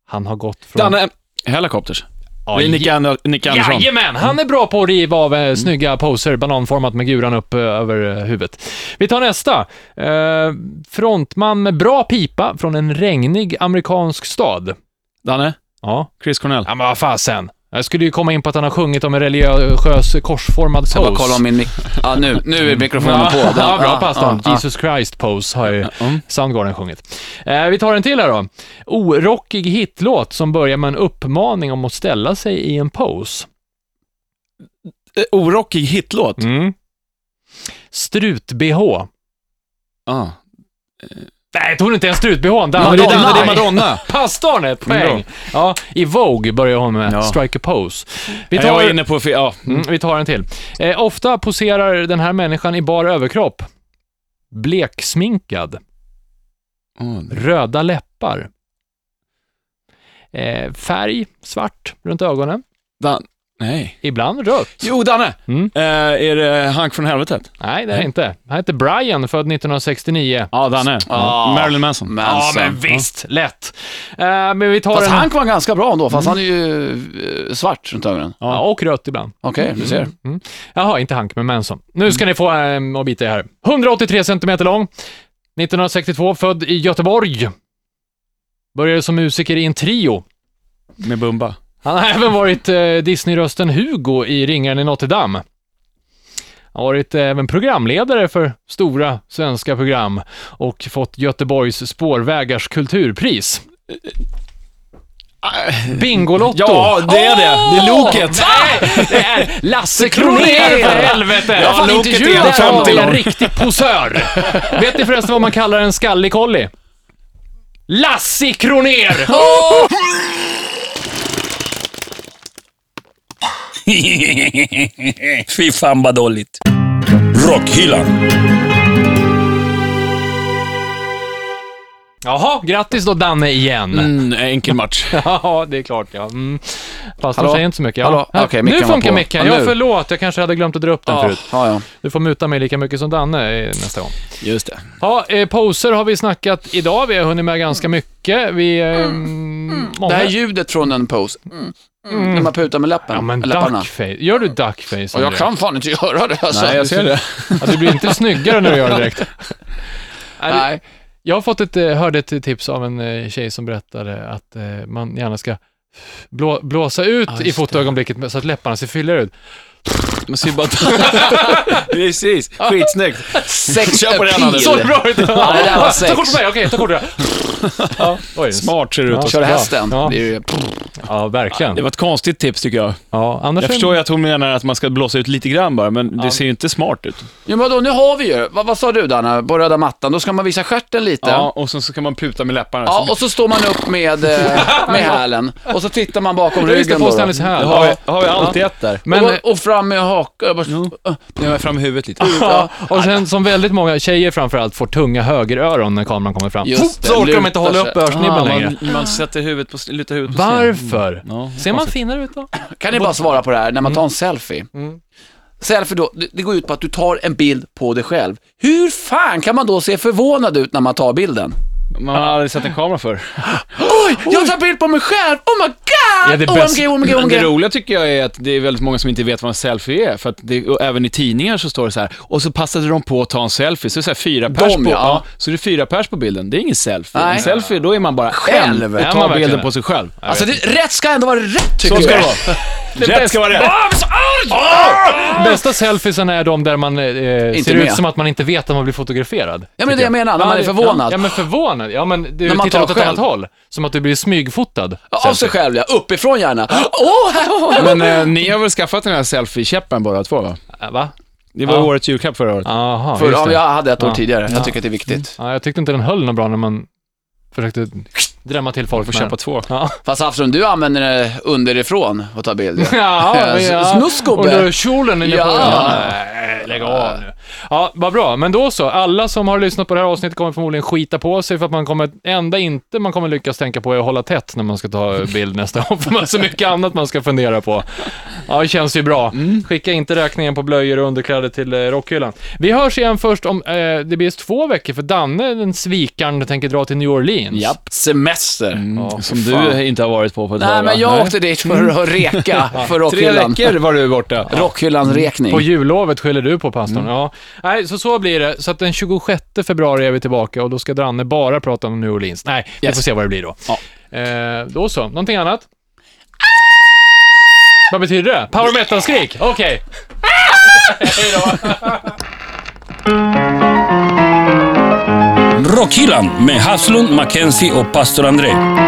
Speaker 2: Han har gått från...
Speaker 3: Danne, helikopters.
Speaker 2: Ja,
Speaker 3: Det är Nicke Ander- Nicke Andersson.
Speaker 2: Jajamän, han är bra på att riva av eh, snygga poser, bananformat med guran upp eh, över eh, huvudet. Vi tar nästa. Eh, frontman med bra pipa från en regnig amerikansk stad.
Speaker 3: Danne,
Speaker 2: Ja,
Speaker 3: Chris Cornell.
Speaker 2: ja men vad fasen. Jag skulle ju komma in på att han har sjungit om en religiös korsformad pose.
Speaker 4: Ska bara kolla om min mik- ja, nu, nu är
Speaker 2: *laughs*
Speaker 4: mikrofonen
Speaker 2: ja,
Speaker 4: på. Den-
Speaker 2: ja, bra
Speaker 4: ja,
Speaker 2: pastorn.
Speaker 4: ja, Mm.
Speaker 2: Jesus Christ Pose har ju Soundgarden sjungit. Eh, vi tar en till här då. Orockig hitlåt som börjar med en uppmaning om att ställa sig i en pose.
Speaker 3: Eh, Orockig hitlåt.
Speaker 2: Mm. Strut-bh.
Speaker 3: Ah.
Speaker 2: Eh, Nej, tog du inte ens strut-bhn?
Speaker 3: Madonna, det är, det
Speaker 2: nej.
Speaker 3: är Madonna.
Speaker 2: Pastorn är ett poäng.
Speaker 3: Bra.
Speaker 2: Ja, I Vogue börjar hon med
Speaker 3: Ja.
Speaker 2: Strike a Pose.
Speaker 3: *laughs*
Speaker 2: Vi
Speaker 3: Jag
Speaker 2: tar,
Speaker 3: var inne på... fe- Ja.
Speaker 2: mm, vi tar en till. Eh, ofta poserar den här människan i bar överkropp. Bleksminkad.
Speaker 3: Oh,
Speaker 2: Röda läppar. Eh, färg, svart runt ögonen.
Speaker 3: Dan... Nej.
Speaker 2: Ibland rött.
Speaker 3: Jo, Danne!
Speaker 2: Mm.
Speaker 3: Eh, är det Hank från helvetet?
Speaker 2: Nej, det är det inte. Han heter Brian, född 1969.
Speaker 3: Ja, Danne.
Speaker 4: Ah.
Speaker 3: Marilyn Manson.
Speaker 2: Ja,
Speaker 4: Manson. Alltså.
Speaker 2: men visst. Lätt. Eh, men vi tar
Speaker 4: Fast
Speaker 2: en...
Speaker 4: Hank var ganska bra ändå, fast han är ju eh, svart runt ögonen.
Speaker 2: Ja, och rött ibland.
Speaker 4: Okej, du ser.
Speaker 2: Mm. Jaha, inte Hank, men Manson. Nu
Speaker 4: Mm.
Speaker 2: ska ni få ähm, och bita er här. 183 centimeter lång, 1962, född i Göteborg. Började som musiker i en trio.
Speaker 3: Med Bumba.
Speaker 2: Han har även varit eh, Disney-rösten Hugo i Ringaren i Notre Dame. Han har varit eh, även programledare för stora svenska program och fått Göteborgs spårvägars kulturpris. Bingolotto!
Speaker 3: Ja, det är det. Det är
Speaker 2: Åh!
Speaker 3: Loket.
Speaker 2: Nej, det är Lasse Kronér för helvete!
Speaker 3: Ja, fan, Loket är han fram till
Speaker 2: Där har vi en
Speaker 3: honom.
Speaker 2: riktig posör. Vet ni förresten vad man kallar en skallig collie? Lassi Kronér!
Speaker 1: Fy fan vad dåligt. Rockhyllan.
Speaker 2: Jaha, grattis då Danne igen.
Speaker 3: Mm, enkel match. *laughs*
Speaker 2: *laughs* Ja, det är klart ja. Mm. Fast de
Speaker 4: Hallå?
Speaker 2: säger inte så mycket. Ja.
Speaker 4: Hallå?
Speaker 2: Ja,
Speaker 4: Okej,
Speaker 2: nu
Speaker 4: micken var
Speaker 2: funkar
Speaker 4: på.
Speaker 2: micken.
Speaker 4: Ja,
Speaker 2: Ja,
Speaker 4: nu.
Speaker 2: förlåt. Jag kanske hade glömt att dra upp den förut.
Speaker 4: Ja, ja.
Speaker 2: Du får muta mig lika mycket som Danne eh, nästa gång.
Speaker 3: Just det.
Speaker 2: Ja, eh, poser har vi snackat idag. Vi har hunnit med ganska mycket. Vi... Eh, mm,
Speaker 4: Det
Speaker 2: många...
Speaker 4: här ljudet från en pose, mm. Mm. när man putar med läppen,
Speaker 2: Ja, men
Speaker 4: läpparna.
Speaker 2: duckface. Gör du duckface?
Speaker 4: Och jag
Speaker 2: André?
Speaker 4: kan fan inte göra det alltså.
Speaker 3: Nej, jag ser det.
Speaker 2: Alltså, du blir
Speaker 4: *laughs*
Speaker 2: inte snyggare när du gör det direkt. Är det-
Speaker 4: Nej.
Speaker 2: Jag har fått ett, eh, hörde ett tips av en eh, tjej som berättade att eh, man gärna ska blå, blåsa ut i fotoögonblicket med- så att läpparna ser fylligare ut.
Speaker 3: Man ser
Speaker 2: *laughs*
Speaker 3: bara... *laughs* Precis. Skitsnyggt.
Speaker 4: Sex
Speaker 3: Kör på den, Anders.
Speaker 2: Så bra ut!
Speaker 4: Ja, det där var
Speaker 2: ta kort
Speaker 4: sex.
Speaker 2: på mig, okej, ta kort på dig. *laughs* Ja, oj.
Speaker 3: Smart ser det ut.
Speaker 4: Kör hästen.
Speaker 2: Ja.
Speaker 4: Det är ju...
Speaker 2: Ja,
Speaker 3: Det
Speaker 2: verkligen.
Speaker 3: var ett konstigt tips tycker jag.
Speaker 2: Ja, annars
Speaker 3: Jag förstår ju att hon menar att man ska blåsa ut lite grann bara, men det ser ju inte smart ut.
Speaker 4: Jo, men vadå, nu har vi ju. Vad, vad sa du Danne, på röda mattan? Då ska man visa stjärten lite.
Speaker 3: Ja, och sen så kan man puta med läpparna.
Speaker 4: Ja, och så står man upp
Speaker 2: *laughs*
Speaker 4: med, eh, med hälen och så tittar man bakom
Speaker 2: Du, vi ska
Speaker 4: ryggen.
Speaker 2: få
Speaker 4: Då, då.
Speaker 2: Stanleys här.
Speaker 3: det har,
Speaker 2: Ja.
Speaker 3: vi, har vi alltid ett där.
Speaker 2: Men, eh,
Speaker 4: och, och fram med hakan. Jag bara-
Speaker 3: Nu har jag fram i huvudet lite.
Speaker 2: *laughs*
Speaker 4: Ja.
Speaker 2: och sen som väldigt många tjejer framförallt får tunga högeröron när kameran kommer fram.
Speaker 4: Just det,
Speaker 2: så orkar de inte
Speaker 4: lutar
Speaker 2: hålla
Speaker 4: sig.
Speaker 2: upp örsnibben längre.
Speaker 3: man, man sätter huvudet på, lutar huvudet på
Speaker 2: Varför?
Speaker 4: Mm.
Speaker 3: Ja,
Speaker 2: Ser man finare ut då?
Speaker 4: Kan ni bara svara på det här när man tar
Speaker 2: Mm.
Speaker 4: en selfie? Selfie då, det, det går ut på att du tar en bild på dig själv. Hur fan kan man då se förvånad ut när man tar bilden?
Speaker 3: Man har aldrig sett en kamera för.
Speaker 4: Oj, jag tar bild på mig själv! Oh my god!
Speaker 2: Ja, det är bäst.
Speaker 4: OMG, OMG,
Speaker 3: Men det
Speaker 4: OMG.
Speaker 3: roliga tycker jag är att det är väldigt många som inte vet vad en selfie är, för att det, och även i tidningar så står det så här, och så passade de på att ta en selfie, så är det så här fyra pers
Speaker 4: ja.
Speaker 3: på, ja, så det är fyra pers på bilden. Det är ingen selfie.
Speaker 4: Nej.
Speaker 3: En selfie, då är man bara
Speaker 4: Själv.
Speaker 3: en
Speaker 2: Är
Speaker 3: och
Speaker 2: man
Speaker 3: tar
Speaker 2: verkligen
Speaker 3: bilden
Speaker 2: det?
Speaker 3: på sig själv.
Speaker 4: Alltså, det, rätt ska ändå vara rätt tycker
Speaker 3: Så ska
Speaker 4: jag.
Speaker 3: det vara. *laughs* Rätt ska vara
Speaker 4: Ah!
Speaker 3: rätt.
Speaker 2: Bästa selfiesen är de där man eh, ser
Speaker 4: med.
Speaker 2: ut som att man inte vet att man blir fotograferad.
Speaker 4: Ja, men det jag menar, när man är
Speaker 2: Ja,
Speaker 4: förvånad.
Speaker 2: ja men förvånad. Ja, men du
Speaker 4: När man
Speaker 2: tittar
Speaker 4: tar
Speaker 2: åt ett
Speaker 4: själv.
Speaker 2: annat håll. Som att du blir smygfotad.
Speaker 4: Av sig själv ja, uppifrån gärna. Åh, här har
Speaker 3: Men eh, ni har väl skaffat den här selfie-käppen båda två va?
Speaker 2: Äh, Va?
Speaker 3: Det var
Speaker 2: Ja.
Speaker 3: årets julklapp förra året.
Speaker 2: Jaha,
Speaker 4: För,
Speaker 2: just
Speaker 4: ja,
Speaker 2: det.
Speaker 4: men jag hade ett år
Speaker 2: Ja. Mm.
Speaker 4: tidigare. Jag tycker att det är viktigt.
Speaker 2: Ja, jag tyckte inte den höll något bra när man försökte drämma till folk.
Speaker 3: Får
Speaker 2: med
Speaker 3: köpa
Speaker 2: den.
Speaker 3: två.
Speaker 2: Ja.
Speaker 4: Fast Hafström, du använder det underifrån och tar bild.
Speaker 2: *laughs*
Speaker 4: ja.
Speaker 2: Ja, men
Speaker 4: Eh,
Speaker 2: ja.
Speaker 4: snuskgubbe.
Speaker 2: Under kjolen inne på...
Speaker 4: Ja.
Speaker 2: Nej, lägg av nu. Ja, vad bra. Men då så. Alla som har lyssnat på det här avsnittet kommer förmodligen skita på sig för att man kommer... Enda inte man kommer lyckas tänka på är att hålla tätt när man ska ta bild nästa gång. För man har så mycket annat man ska fundera på. Ja, det känns ju bra. Skicka inte räkningen på blöjor och underkläder till eh, rockhyllan. Vi hörs igen först om... Eh, det blir just två veckor för Danne, den svikaren, tänker dra till New Orleans.
Speaker 4: Semester.
Speaker 2: Ja.
Speaker 3: Som du
Speaker 4: fan.
Speaker 3: inte har varit på på ett
Speaker 4: Nej,
Speaker 3: tag va?
Speaker 4: men jag åkte dit för att reka för
Speaker 3: Tre
Speaker 4: rockhyllan.
Speaker 3: veckor var du borta. Mm.
Speaker 4: Rockhyllans rekning.
Speaker 2: På jullovet skyller du på pastorn. Ja. Nej, så så blir det. Så att den 26 februari är vi tillbaka och då ska Danne bara prata om New Orleans. Nej, vi
Speaker 4: Yes.
Speaker 2: får se vad det blir då.
Speaker 4: Ja.
Speaker 2: Eh, då så. Någonting annat? Vad betyder det? Power metal-skrik? Okej.
Speaker 1: Rockhyllan med Haslund, Mackenzie och pastor André.